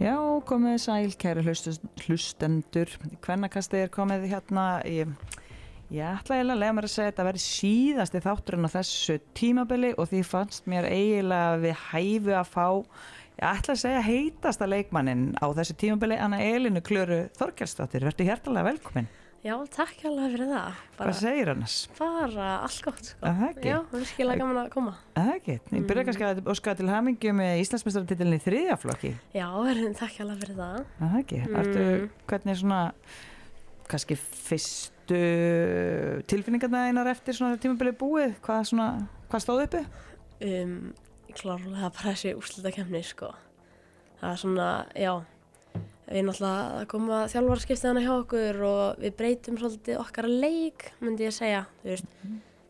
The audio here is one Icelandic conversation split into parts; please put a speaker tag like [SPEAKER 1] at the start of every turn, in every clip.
[SPEAKER 1] Já, komið þið sæl, kæri hlustus- hlustendur. Hvernakastið er komið hérna í... Ég ætla eiginlega að lega mér að segja að þetta verði síðasti þátturinn á þessu tímabili og því fannst mér eiginlega við hæfu að fá, ég ætla að segja heitasta leikmannin á þessu tímabili, Anna Elinu Klöru Þorkelsdóttir. Vertu hjertalega velkomin.
[SPEAKER 2] Já, takk alveg fyrir það. Bara,
[SPEAKER 1] Hvað segir annars?
[SPEAKER 2] bara allt gott, sko.
[SPEAKER 1] Er það ekki?
[SPEAKER 2] Já, Mm. það er skilja gaman að koma.
[SPEAKER 1] Er Það ekki. Ég byrja kannski að óska til hamingju með Íslandsmeistaratitilin í þriðja flokki.
[SPEAKER 2] Já, erum, takk alveg fyrir það.
[SPEAKER 1] Er Það ekki.
[SPEAKER 2] Mm.
[SPEAKER 1] Ertu, hvernig er svona, kannski fyrstu tilfinningarna einar eftir svona þegar tímabilið er búið? Hvað, svona, hvað stóð uppi?
[SPEAKER 2] Um, klárlega bara þessi úrslita kemni, sko. Það er svona, já, við náttúrulega koma þjálfarskiptiðana hérna hjá okkur og við breytum svolítið okkar leik, myndi ég segja. Þú veist,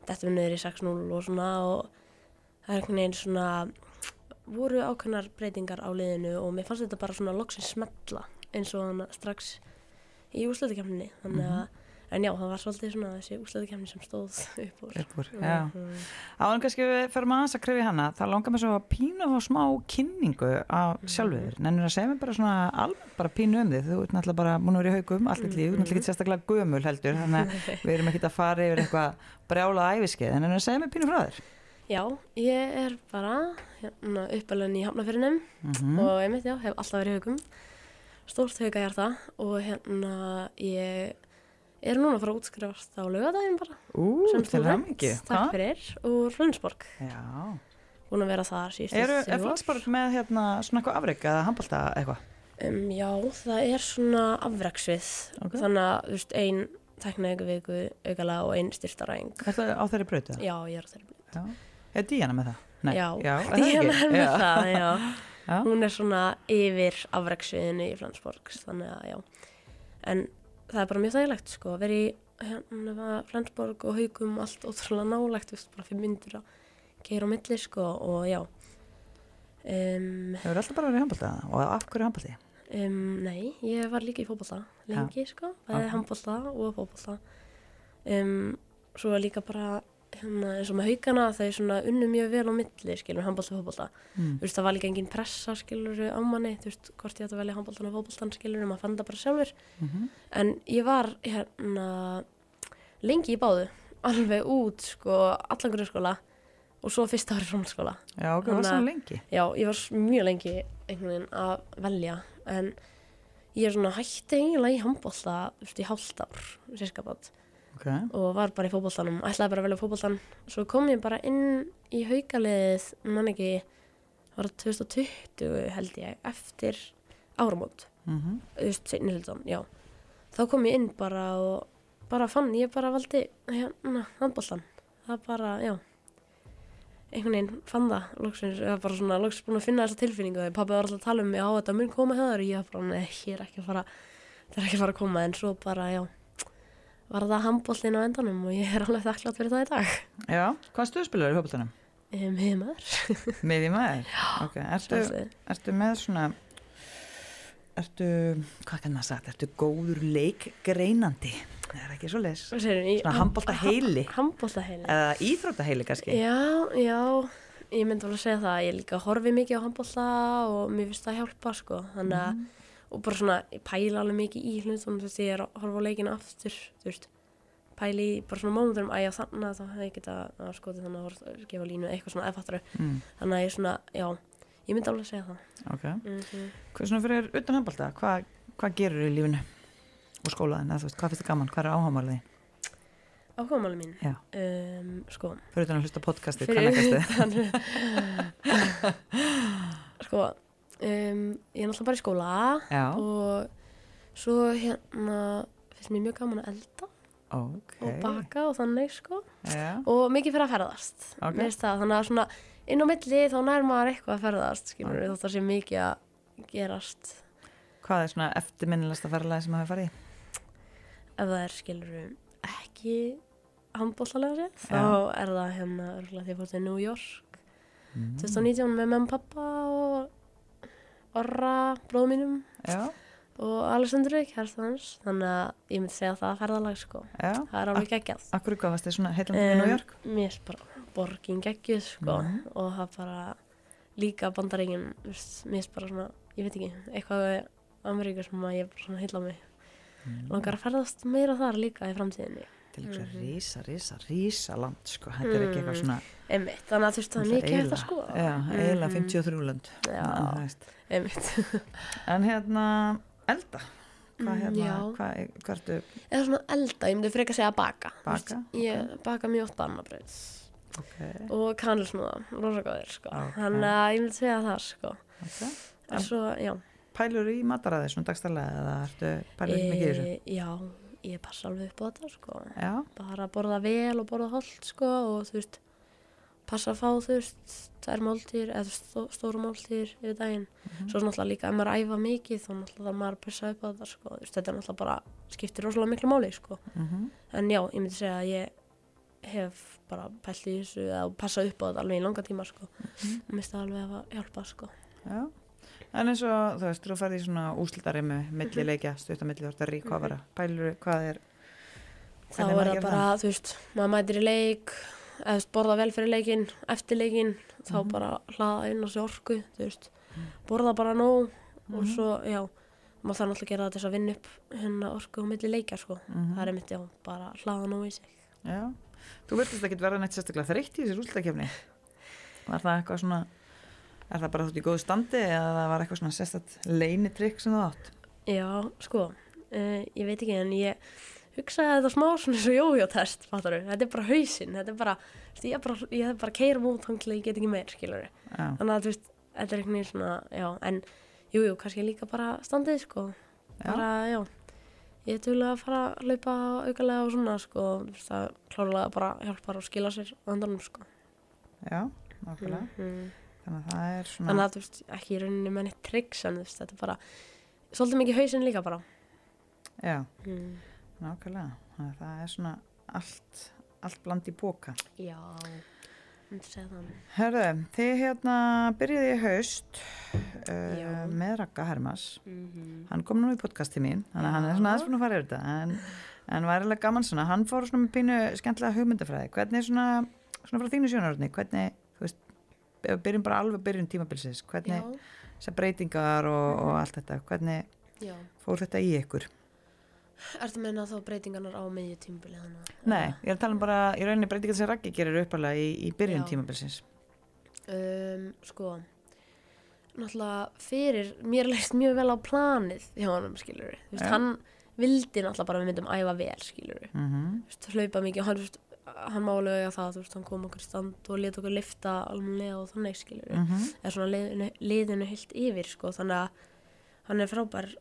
[SPEAKER 2] þetta við niður í 6-0 og svona og það er einhvern veginn svona, voru ákveðnar breytingar á liðinu og mér fannst þetta bara svona loksins smetla eins og hann strax í úrslutakefninni. Þannig að, en já, það var svolítið svona þessi úrslutakefni sem stóð upp úr. Mhm.
[SPEAKER 1] Upp úr, já. Áðan kannski við ferum aðeins að krifja hana, það langar mér svo að pínu á smá kynningu af
[SPEAKER 2] Mm.
[SPEAKER 1] sjálfu þér. Nennir að segja mér bara svona almennt bara pínu um þig, þú ert náttúrulega bara múin að vera í haugum allt eitt líf, þú ert náttúrulega
[SPEAKER 2] Mm.
[SPEAKER 1] ekki sérstaklega gömul heldur, þannig að við erum ekki að fara yfir eitthvað brjálað æfiskeið, en nennir að segja mér pínu frá þér.
[SPEAKER 2] Já, ég er bara hérna, uppalinn í Hafnafyrinum
[SPEAKER 1] Mhm.
[SPEAKER 2] og ég mitt, já, hef alltaf verið í haugum. Stórt hauga ég er það og hérna ég er núna að fara að útskrifast á laugardaginn bara.
[SPEAKER 1] Ú,
[SPEAKER 2] sem
[SPEAKER 1] til
[SPEAKER 2] stúdent.
[SPEAKER 1] hamingi.
[SPEAKER 2] Takk fyrir, úr Flensborg.
[SPEAKER 1] Já.
[SPEAKER 2] Búin að vera þar síðustu
[SPEAKER 1] Eru,
[SPEAKER 2] þrjú
[SPEAKER 1] er
[SPEAKER 2] ár.
[SPEAKER 1] Flensborg með hérna svona eitthvað afrygg eða handbalta eitthvað?
[SPEAKER 2] Um, já, það er svona afreksvið.
[SPEAKER 1] Ok.
[SPEAKER 2] Þannig að, þú veist, ein teknæg viku aukala og ein styrtaræng.
[SPEAKER 1] Er það á þeirri brautu?
[SPEAKER 2] Já, ég er þeirri blöð.
[SPEAKER 1] Já. Er Díana með það? Nei.
[SPEAKER 2] Já,
[SPEAKER 1] já er það
[SPEAKER 2] Díana
[SPEAKER 1] ekki?
[SPEAKER 2] er með
[SPEAKER 1] Já.
[SPEAKER 2] það, já.
[SPEAKER 1] Já.
[SPEAKER 2] Hún er svona yfir afreksviðinu í Flensborg, þannig að, já. En það er bara mjög þægilegt, sko, að vera í hérna, Flensborg og haugum allt ótrúlega nálægt, þú veist, bara fyrir myndir að gera á milli, sko, og já. Um,
[SPEAKER 1] Hefur alltaf bara verið í handbalta og af hverju handbalti?
[SPEAKER 2] Um, nei, ég var líka í fótbolta lengi sko, bæði
[SPEAKER 1] Áfram.
[SPEAKER 2] handbolta og fótbolta um, svo var líka bara hérna, eins og með haugana þau svona unnu mjög vel á milli skilur, handbolta og fótbolta
[SPEAKER 1] Mm.
[SPEAKER 2] þú veist, það var líka engin pressa skilur á manni, þú veist, hvort ég ætti að velja handboltan og fótboltan skilur, maður fann það bara sjálfur
[SPEAKER 1] Mm
[SPEAKER 2] en ég var hérna lengi í báðu alveg út sko, allan grunnskóla og svo fyrsta árið framhaldsskóla
[SPEAKER 1] Já, ok, það var
[SPEAKER 2] Þannig að-
[SPEAKER 1] svona lengi.
[SPEAKER 2] Já, ég var s- mjög lengi einhvern veginn að velja en ég er svona hætti eiginlega í handbólta í hálft ár, sérskapað
[SPEAKER 1] Ok,
[SPEAKER 2] og var bara í fótboltanum, ætlaði bara að velja fótboltan svo kom ég bara inn í haukaliðið, mann ekki var það 2020 held ég eftir áramót
[SPEAKER 1] mm
[SPEAKER 2] þú veist, seinni hlutan, já þá kom ég inn bara og bara fann, ég bara valdi hérna, handbóltan, það bara, já einhvern veginn fann það loksins, ég var bara svona, loksins búin að finna þessa tilfinningu þegar pappi var alltaf að tala um mig á þetta mun koma hjá þér, og ég var bara, nei, ég er ekki að fara það er ekki að fara að koma, en svo bara, já var það handbóltin á endanum og ég er alveg þakklátt fyrir það í dag
[SPEAKER 1] já. Hvað stuðspilar í handbaltanum?
[SPEAKER 2] um, heimar,
[SPEAKER 1] Með í maður? Já. Ok, ertu, ertu með svona, ertu, hvað kannar sagt, ertu góður leikgreinandi? Það er ekki svo les. Svona handbolta heili
[SPEAKER 2] handbólta heili
[SPEAKER 1] eða íþrótta heili kannski?
[SPEAKER 2] Já, já, ég myndi alveg að segja það, ég líka horfi mikið á handbólla og mér finnst það hjálpa sko, þannig að, og bara svona, ég pæla alveg mikið í hlutum, þú veist, ég er að horfa á leikinu aftur, þú veist, pæli í bara svona mómentum, æja þannig að það hefði geta að skoti þannig að horfa, gefa línu eitthvað svona efattru,
[SPEAKER 1] Mm,
[SPEAKER 2] þannig að ég svona, já, ég myndi alveg að segja það.
[SPEAKER 1] ok.
[SPEAKER 2] Mm
[SPEAKER 1] Hvað svona fyrir utan handbalta, hvað, hvað gerur í lífinu og skólaðin, eða þú veist, hvað finnst þið gaman, hvað er áhámálið þín?
[SPEAKER 2] Ákvæmáli mín,
[SPEAKER 1] Já,
[SPEAKER 2] um, sko,
[SPEAKER 1] fyrir utan að hlusta á podcastið,
[SPEAKER 2] Fyrir
[SPEAKER 1] kannakastið.
[SPEAKER 2] sko, um, ég er náttúrulega bara í skóla
[SPEAKER 1] Já,
[SPEAKER 2] og svo hérna finnst mér mjög gaman að elda
[SPEAKER 1] ok.
[SPEAKER 2] og baka og þannig sko
[SPEAKER 1] Já,
[SPEAKER 2] og mikið fyrir að ferðast
[SPEAKER 1] Ok.
[SPEAKER 2] Mér finnst það, þannig að svona inn á milli þá nær maður eitthvað að ferðast skilur við þótt að sé mikið að gerast
[SPEAKER 1] hvað er svona eftirminnilegsta ferðalagi sem hafa farið í?
[SPEAKER 2] ef það er skilur við ekki handbóllalega séð
[SPEAKER 1] Já.
[SPEAKER 2] þá er það hérna örgulega því að fór til New York
[SPEAKER 1] Mm.
[SPEAKER 2] 2019 með mamma og pappa og orra bróðum mínum
[SPEAKER 1] Já,
[SPEAKER 2] og Alessandru kærstu hans þannig að ég myndi segja að það er ferðalag sko
[SPEAKER 1] já.
[SPEAKER 2] það er
[SPEAKER 1] Ah.
[SPEAKER 2] alveg geggjað
[SPEAKER 1] Akkur hvað varst þið svona heillandi um, í New
[SPEAKER 2] Em,
[SPEAKER 1] York?
[SPEAKER 2] Mér er bara borgin geggjuð sko
[SPEAKER 1] Mhm.
[SPEAKER 2] og það bara líka bandaríkin, mér er bara svona ég veit ekki, eitthvað við Ameríku sem að ég bara svona heilla mig
[SPEAKER 1] Mm.
[SPEAKER 2] langar að ferðast meira þar líka í framtíðinni
[SPEAKER 1] til ykkur
[SPEAKER 2] mm.
[SPEAKER 1] að rísa, rísa, rísa land sko, þetta er ekki eitthvað svona
[SPEAKER 2] einmitt, þannig að þú veist Mm. það er mikið hægt að sko
[SPEAKER 1] já, eiginlega 53 lönd
[SPEAKER 2] Já.
[SPEAKER 1] En það veist.
[SPEAKER 2] einmitt,
[SPEAKER 1] en hérna, elda hvað
[SPEAKER 2] Mm,
[SPEAKER 1] hérna,
[SPEAKER 2] já.
[SPEAKER 1] hvað, hvað ertu
[SPEAKER 2] eða svona elda, ég myndi frekar segja baka Þú veist,
[SPEAKER 1] Baka,
[SPEAKER 2] ég baka mjög ótt annabröð
[SPEAKER 1] okay,
[SPEAKER 2] og kanilsnúða, rosa góðir sko
[SPEAKER 1] Ok.
[SPEAKER 2] þannig að ég myndi segja það sko
[SPEAKER 1] okay. En-
[SPEAKER 2] en svo, já
[SPEAKER 1] pælur í mataræði svona dagstælega eða ertu pælur hérna ekki mikið í þessu
[SPEAKER 2] Eh, já, ég passa alveg upp á þetta sko
[SPEAKER 1] já,
[SPEAKER 2] bara borða vel og borða holdt sko og þú veist passa að fá þú veist þær máltýr eða þú veist, stó, stóru máltýr yfir daginn
[SPEAKER 1] Mhm.
[SPEAKER 2] svo náttúrulega líka ef maður æfa mikið þá náttúrulega þarf maður að passa upp á þetta sko þú veist, þetta er náttúrulega bara skiptir rosalega miklu máli sko
[SPEAKER 1] mm
[SPEAKER 2] en já, ég myndi segja að ég hef bara pælt í þessu eða passa upp á þetta alveg í langa tíma sko
[SPEAKER 1] Mhm.
[SPEAKER 2] og misti alveg að hjálpa sko
[SPEAKER 1] já En eins og þú veist, þú ferði í svona úslitarimu
[SPEAKER 2] Mhm.
[SPEAKER 1] millileikja, stuttamilli, þú ert að rík hvað vera pælur, hvað er
[SPEAKER 2] þá
[SPEAKER 1] Hvernig
[SPEAKER 2] er
[SPEAKER 1] maður
[SPEAKER 2] það
[SPEAKER 1] gerir
[SPEAKER 2] bara, þú veist, maður mætir í leik eða þú veist, borða vel fyrir leikinn, eftir leikinn þá bara hlaða inn á sér orku þú veist, borða bara nóg og svo, já, maður þarf náttúrulega að gera það til þess að vinna upp hérna orku og milli leikja, sko, það er mitt, já, bara hlaða nóg í sig
[SPEAKER 1] mhm, Já, þú virtist ekki verða neitt sérstaklega þreytt í þessi rústakefni Var það eitthvað svona Er það bara þátt í góðu standi eða það var eitthvað svona sérstakt leinitrykk sem þú átt
[SPEAKER 2] já, sko, uh, ég veit ekki en ég hugsaði þetta smá svona eins og jójótest, fattar við, þetta er bara hausinn, þetta er bara, þú veist, ég er bara ég er bara að keira mót hanglega, ég get ekki meir, skilur
[SPEAKER 1] Já,
[SPEAKER 2] þannig að þú veist, þetta er einhvern veginn svona, já, en jújú, jú, kannski líka bara standið, sko, bara, já, ég er duglega að fara að laupa aukalega og svona, sko, þú veist, það klárlega bara hjálpar og skila sér á andanum, sko.
[SPEAKER 1] já, nákvæmlega
[SPEAKER 2] Mhm.
[SPEAKER 1] Þannig að það er svona
[SPEAKER 2] Þannig að, þú veist, ekki í rauninni með neitt tryggs, en þú veist, þetta er bara, svolítið mikið hausinn líka bara.
[SPEAKER 1] Já,
[SPEAKER 2] Mm.
[SPEAKER 1] nákvæmlega Þannig að það er svona allt allt bland í boka
[SPEAKER 2] Já, myndi segja það.
[SPEAKER 1] Herðu, þið hérna byrjuði í haust uh,
[SPEAKER 2] Já.
[SPEAKER 1] með Raka Hermas
[SPEAKER 2] Mm -hmm.
[SPEAKER 1] hann kom nú í podcast til mín þannig að hann er svona aðeins búin að fara yfir þetta en, en var eiginlega gaman svona, hann fór svona með pínu skemmtilega hugmyndafræði, hvernig svona svona frá þínu sjónaröfni, hvernig þú veist, ef við byrjum bara alveg byrjun tímabilsins hvernig þessar breytingar og,
[SPEAKER 2] Mhm.
[SPEAKER 1] og allt þetta, hvernig
[SPEAKER 2] já.
[SPEAKER 1] fór þetta í ykkur?
[SPEAKER 2] Ertu að meina þá breytingarnar á miðju tímbilið þannig?
[SPEAKER 1] Nei, ég er að tala um bara í rauninni breytingar sem Raggi gerir uppalega í, í byrjun
[SPEAKER 2] Já.
[SPEAKER 1] tímabilsins
[SPEAKER 2] um, sko náttúrulega fyrir mér leist mjög vel á planið hjá honum skilur við,
[SPEAKER 1] Já.
[SPEAKER 2] hann vildi náttúrulega bara að við myndum æfa vel skilur við,
[SPEAKER 1] mm
[SPEAKER 2] hlaupa mikið og hann, þú veist, hann málega eiga það, þú veist, hann kom okkur í stand og let okkur lifta almenlega og þannig skilur við,
[SPEAKER 1] Mhm.
[SPEAKER 2] eða svona liðinu, liðinu heilt yfir sko, þannig að hann er frábær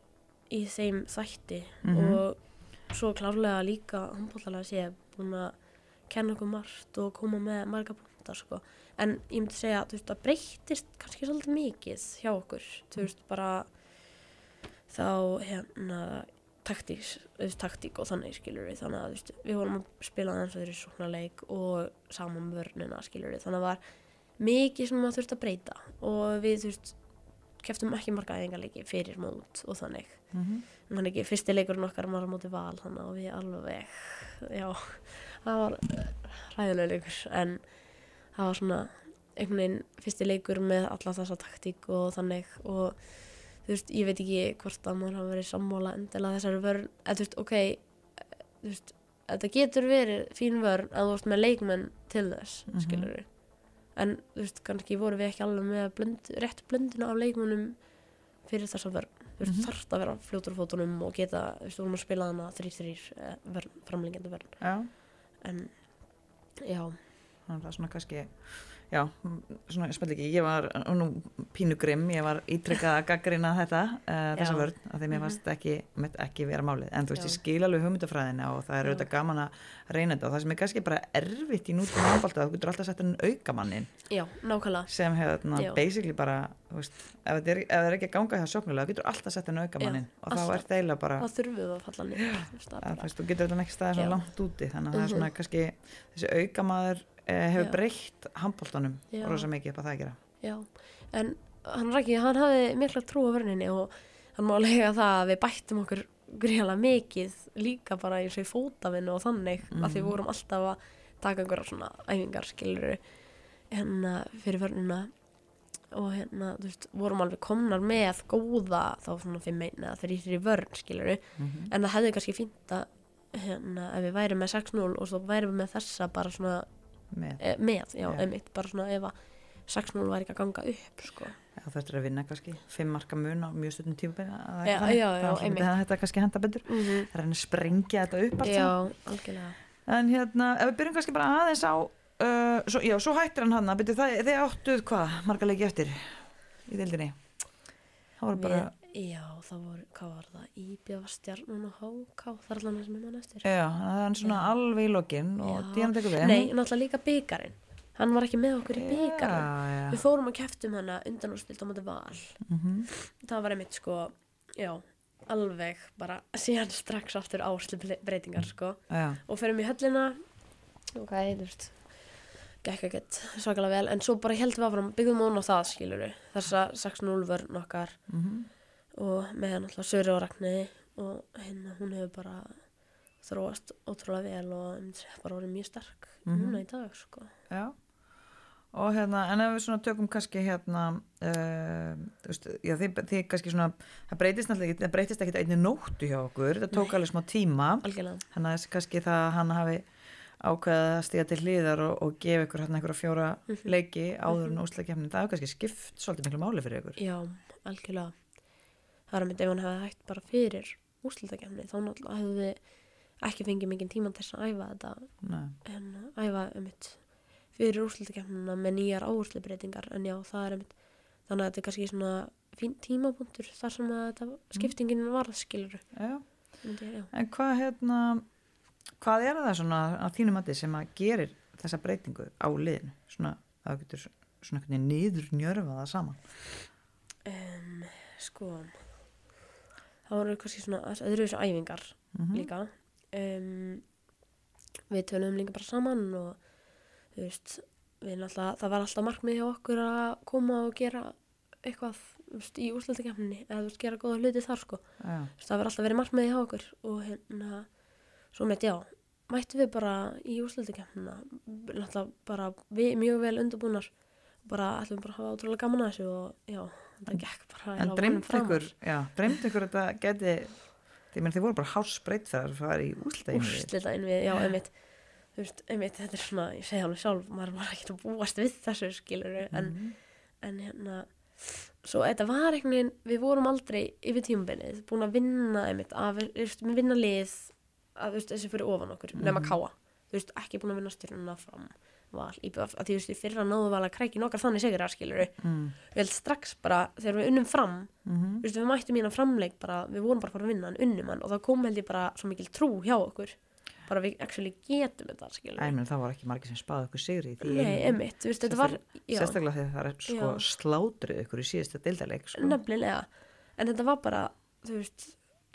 [SPEAKER 2] í þeim þætti
[SPEAKER 1] Mhm.
[SPEAKER 2] og svo klárlega líka handbóllalega sé búin að kenna okkur margt og koma með marga punktar sko. en ég myndi segja þú veist, það breytist kannski svolítið mikið hjá okkur þú veist bara þá hérna taktíks, þú veist, taktík og þannig skilur við þannig að þú veist, við vorum að spila þannig að þeir eru sóknarleik og saman með vörnina skilur við þannig að var mikið sem maður þurfti að breyta og við þú veist keftum ekki marga æfingarleiki fyrir mót og þannig
[SPEAKER 1] Mhm.
[SPEAKER 2] Man ekki, fyrsti leikurinn okkar var á móti val þannig og við alveg, já, það var ræðilega leikur en það var svona einhvern veginn fyrsti leikur með alla þessa taktík og þannig og þú veist, ég veit ekki hvort að maður hafa verið sammála endilega þessari vörn, eða þú veist, ok, eh, þú veist, þetta getur verið fín vörn að þú veist með leikmenn til þess, mm
[SPEAKER 1] Mhm.
[SPEAKER 2] skilur við. En þú veist, kannski vorum við ekki alveg með blönd, rétt blöndina af leikmennum fyrir þessa vörn þú
[SPEAKER 1] Mhm.
[SPEAKER 2] veist, þarft að vera fljótur á fótunum og geta, þú veist, við vorum að spila hana 3-3 eh, vörn, framlengjandi vörn
[SPEAKER 1] Já,
[SPEAKER 2] en, já,
[SPEAKER 1] þannig að það svona kannski Já, svona ég spil ekki, ég var nú pínu grimm, ég var ítrekkað að gaggrina þetta, uh, þessa
[SPEAKER 2] Já.
[SPEAKER 1] vörn af því mér
[SPEAKER 2] Mhm.
[SPEAKER 1] fannst þetta ekki, mitt ekki vera málið en þú veist,
[SPEAKER 2] Já.
[SPEAKER 1] ég skil alveg hugmyndafræðina og það er
[SPEAKER 2] Já.
[SPEAKER 1] auðvitað gaman að reyna þetta og það sem er kannski bara erfitt í nútum áfaldið, þú getur alltaf sett enn aukamannin
[SPEAKER 2] já, nákvæmlega
[SPEAKER 1] sem hefur
[SPEAKER 2] Já.
[SPEAKER 1] basically bara, þú veist ef þetta er, ef það er ekki að ganga hjá sjóknulega, þú getur alltaf sett enn aukamannin og þá
[SPEAKER 2] alltaf.
[SPEAKER 1] er það eiginlega bara
[SPEAKER 2] það þurfum við að falla niður þú veist, það er
[SPEAKER 1] að, þú
[SPEAKER 2] bara,
[SPEAKER 1] veist, þú getur þetta ekki staðið svona
[SPEAKER 2] Já. Mhm.
[SPEAKER 1] langt úti þannig að það er svona kannski, þessi aukamaður eh, hefur
[SPEAKER 2] Já.
[SPEAKER 1] breytt handbóltanum
[SPEAKER 2] Já.
[SPEAKER 1] rosa mikið upp að það að gera
[SPEAKER 2] já, en hann Raki, hann hafði mikla trú á vörninni og hann má lega það að við bættum okkur greiðlega mikið líka bara eins og í fótavinu og þannig mm. að því við vorum alltaf að taka einhverja svona æfingar skilur en fyrir hérna, vörnina og hérna, þú veist, vorum alveg komnar með góða þá svona fimm einn eða þrýr í vörn, skilur
[SPEAKER 1] Mhm.
[SPEAKER 2] en það hefði kannski fínt að hérna, ef við værum með 6-0 og svo værum við með þessa bara svona
[SPEAKER 1] með,
[SPEAKER 2] eh, með, já,
[SPEAKER 1] Já.
[SPEAKER 2] einmitt, bara svona ef að 6-0 væri ekki að ganga upp, sko
[SPEAKER 1] já, þú ættir að vinna kannski fimm marka mun á mjög stundum tíma
[SPEAKER 2] Já, já, já, einmitt.
[SPEAKER 1] þetta kannski henda betur það er henni að sprengja þetta upp allt
[SPEAKER 2] Mhm. Já,
[SPEAKER 1] saman.
[SPEAKER 2] algjörlega
[SPEAKER 1] en hérna, ef við byrjum kannski bara aðeins á uh, svo, já, svo hættir hann hann byrju, það, þið áttuð hvað, marga leiki eftir í deildinni það voru bara,
[SPEAKER 2] Við, já, það voru, hvað var það, Íbjöf stjarnan og HK, það er allan það sem ég mann eftir
[SPEAKER 1] já, það er hann svona alveg í lokin
[SPEAKER 2] Já.
[SPEAKER 1] og díðan tekur við
[SPEAKER 2] Nei, náttúrulega líka byggarinn Hann var ekki með okkur í byggarinn
[SPEAKER 1] já,
[SPEAKER 2] Við fórum að keftum hana undan og spilt á móti val
[SPEAKER 1] Mhm.
[SPEAKER 2] Það var einmitt sko, já, alveg bara síðan strax aftur áslu breytingar sko
[SPEAKER 1] já, já,
[SPEAKER 2] og fyrir mig í höllina og hvað heitur gekk ekkert svakalega vel en svo bara heldum við áfram, byggðum ón á það skilur við þessa 6-0 vörn okkar
[SPEAKER 1] Mhm.
[SPEAKER 2] og með náttúrulega Söru og Ragni og hérna hún hefur bara þróast ótrúlega vel og ég myndi segja, bara orðið mjög sterk
[SPEAKER 1] Mhm.
[SPEAKER 2] núna í dag sko
[SPEAKER 1] já. og hérna, en ef við svona tökum kannski hérna uh, veist, já, þið, þið kannski svona það breytist náttúrulega ekki, það breytist ekki einni nóttu hjá okkur, það tók alveg smá tíma
[SPEAKER 2] algjörlega
[SPEAKER 1] þannig að þessi kannski það að hann hafi ákveðið að stíga til hliðar og, og gefa ykkur hann einhverja fjóra leiki áður en úslagkefnin, það hefur kannski skipt svolítið miklu máli fyrir ykkur
[SPEAKER 2] já, algjörlega það er að mynda ef hann hefði hægt bara fyrir úrslutakefni þá náttúrulega hefðu við ekki fengið mikið tíma til þess að æfa þetta
[SPEAKER 1] Nei.
[SPEAKER 2] en æfa einmitt fyrir úrslutakefnuna með nýjar áherslubreytingar en já, það er einmitt þannig að þetta er kannski svona fín tímapunktur þar sem að þetta skiptingin varð skilur
[SPEAKER 1] Já.
[SPEAKER 2] myndi, ég- já.
[SPEAKER 1] en hvað hérna hvað er það svona að þínum mati sem að gerir þessa breytingu á liðinu svona að þú getur svona einhvern veginn niður það saman
[SPEAKER 2] Um, sko það voru kannski svona öðruvísu æfingar
[SPEAKER 1] Mhm.
[SPEAKER 2] líka um, við töluðum líka bara saman og þú veist við náttúrulega, það var alltaf markmið hjá okkur að koma og gera eitthvað þú veist, í úrslutakefninni eða þú veist, gera góða hluti þar sko
[SPEAKER 1] já,
[SPEAKER 2] Þú veist, það var alltaf verið markmið hjá okkur og hérna, svo með já mættum við bara í úrslutakefnina náttúrulega bara við, mjög vel undurbúnar bara ætlum bara að hafa ótrúlega gaman að þessu og já, þetta gekk bara eiginlega
[SPEAKER 1] en
[SPEAKER 2] vonum
[SPEAKER 1] dreymd
[SPEAKER 2] framar.
[SPEAKER 1] ykkur já, dreymd ykkur að þetta geti því menn þið voru bara hásbreytt þegar það var í úslagkefni
[SPEAKER 2] úrslita inn við, já, einmitt þú veist, einmitt, þetta er svona, ég segi alveg sjálf maður var ekkert að búast við þessu skilur
[SPEAKER 1] Mm.
[SPEAKER 2] en, en hérna svo þetta var einhvern veginn, við vorum aldrei yfir tímabilið, búin að vinna einmitt, að, við veist, við vinna lið að, þú veist, þessi fyrir ofan okkur, nema káa þú veist, ekki búin að vinna styrnuna fram val, í, að því, þú veist, í fyrra náðu val að kræki nokkar þannig segir það, skilur
[SPEAKER 1] Mm.
[SPEAKER 2] við held strax bara, þegar við unnum fram
[SPEAKER 1] Mhm.
[SPEAKER 2] þú veist, við mættum hérna framleik bara, við vorum bara að fara að vinna hann unnum hann og það kom held ég bara svo mikil trú hjá okkur bara við actually getum þetta, skilur
[SPEAKER 1] Æ,
[SPEAKER 2] við
[SPEAKER 1] menn, það voru ekki margir sem spaði ykkur sigri í því
[SPEAKER 2] Nei,
[SPEAKER 1] einu.
[SPEAKER 2] emitt, þú veist, þetta var já,
[SPEAKER 1] sérstaklega þegar það er sko
[SPEAKER 2] Já.
[SPEAKER 1] slátruð ykkur í síðasta deildarleik sko.
[SPEAKER 2] nefnilega en þetta var bara, þú veist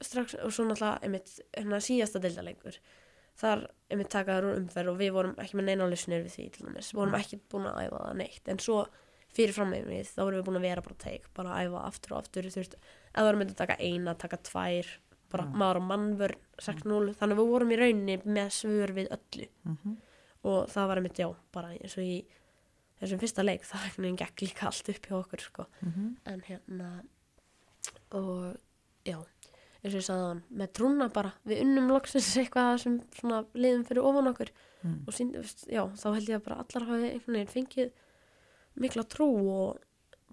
[SPEAKER 2] strax, og svo náttúrulega, emitt, hérna síðasta deildaleikur þar, emitt, takaður úr umferð og við vorum ekki með neina lausnir við því, til dæmis, vorum ekki búin að æfa það neitt, en svo fyrir frammeðið, þá vorum við búin að vera bara teik, bara að æfa aftur og aftur, þú veist, eða vorum við að taka eina, taka tvær, bara maður og mannvörn, 6-0, þannig að við vorum í rauninni með svör við öllu
[SPEAKER 1] Mhm.
[SPEAKER 2] og það var einmitt, já, bara eins og í þessum fyrsta leik, það einhvern veginn gekk líka allt upp hjá okkur, sko
[SPEAKER 1] Mhm.
[SPEAKER 2] en hérna og já eins og ég sagði hann, með trúna bara við unnum loksins eitthvað sem svona liðum fyrir ofan okkur
[SPEAKER 1] Mm.
[SPEAKER 2] og sínd, já, þá held ég að bara allar hafi einhvern veginn fengið mikla trú og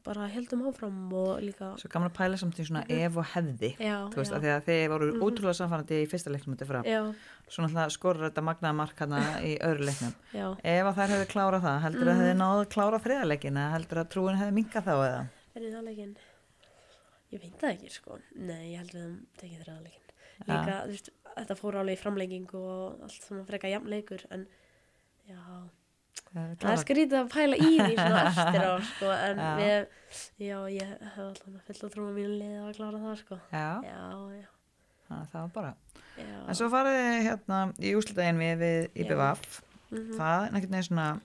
[SPEAKER 2] bara heldum áfram og líka
[SPEAKER 1] svo gaman að pæla samt í
[SPEAKER 2] Mhm.
[SPEAKER 1] svona ef og hefði
[SPEAKER 2] já,
[SPEAKER 1] þú veist,
[SPEAKER 2] já, Mhm.
[SPEAKER 1] af því að þið voru ótrúlega samfærandi í fyrsta leiknum þetta fram,
[SPEAKER 2] já,
[SPEAKER 1] svo náttúrulega skorur þetta magnaða mark hana í öðru leiknum
[SPEAKER 2] já
[SPEAKER 1] ef að þær hefðu klárað það, heldur
[SPEAKER 2] Mhm.
[SPEAKER 1] að hefði náðu að klára þriðarleikin eða heldur að trúin hefði minkað þá eða
[SPEAKER 2] er það leikinn ég veit það ekki sko nei, ég held við um tekið þeirra leikinn líka, þú veist, þetta fór alveg í framlegging og allt svona freka jafnleikur en já,
[SPEAKER 1] Hefði
[SPEAKER 2] Það er
[SPEAKER 1] klárað.
[SPEAKER 2] skrítið að pæla í því svona eftir á, sko, en
[SPEAKER 1] Já.
[SPEAKER 2] við, já, ég hef allan að fylla trúma mínu liði að klára það, sko.
[SPEAKER 1] Já,
[SPEAKER 2] Já, já,
[SPEAKER 1] þannig að það var bara
[SPEAKER 2] já.
[SPEAKER 1] en svo farið þið hérna í úslitaðin við, við IBVF
[SPEAKER 2] Mhm.
[SPEAKER 1] það er einhvern veginn svona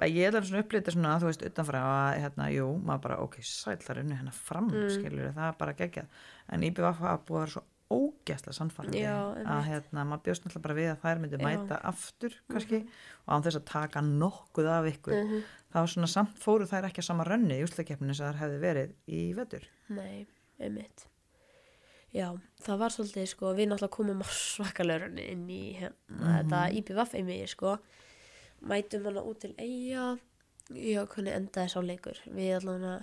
[SPEAKER 1] að ég er alveg svona upplýta svona þú veist utanfra að hérna, jú, maður bara ok, sæl þar unni hennar fram mm. skilur, það er bara geggjað en IBVF hafa búið að vera svo ógæsla sannfærandi
[SPEAKER 2] Já,
[SPEAKER 1] að
[SPEAKER 2] einmitt.
[SPEAKER 1] hérna, maður bjóst náttúrulega bara við að þær myndi
[SPEAKER 2] Já. Mhm.
[SPEAKER 1] mæta aftur kannski og án þess að taka nokkuð af
[SPEAKER 2] Mm.
[SPEAKER 1] ykkur þá svona samt fóru þær ekki að sama rönni í úslakefninu sem þær hefði verið í vetur
[SPEAKER 2] Nei, einmitt. Já, það var svolítið, sko, við náttúrulega komum á svakalörunni inn í hérna,
[SPEAKER 1] Mhm.
[SPEAKER 2] þetta IPVF einmitt, sko. Mætum hana út til eiga, já, hvernig endaði sá leikur. Við allavega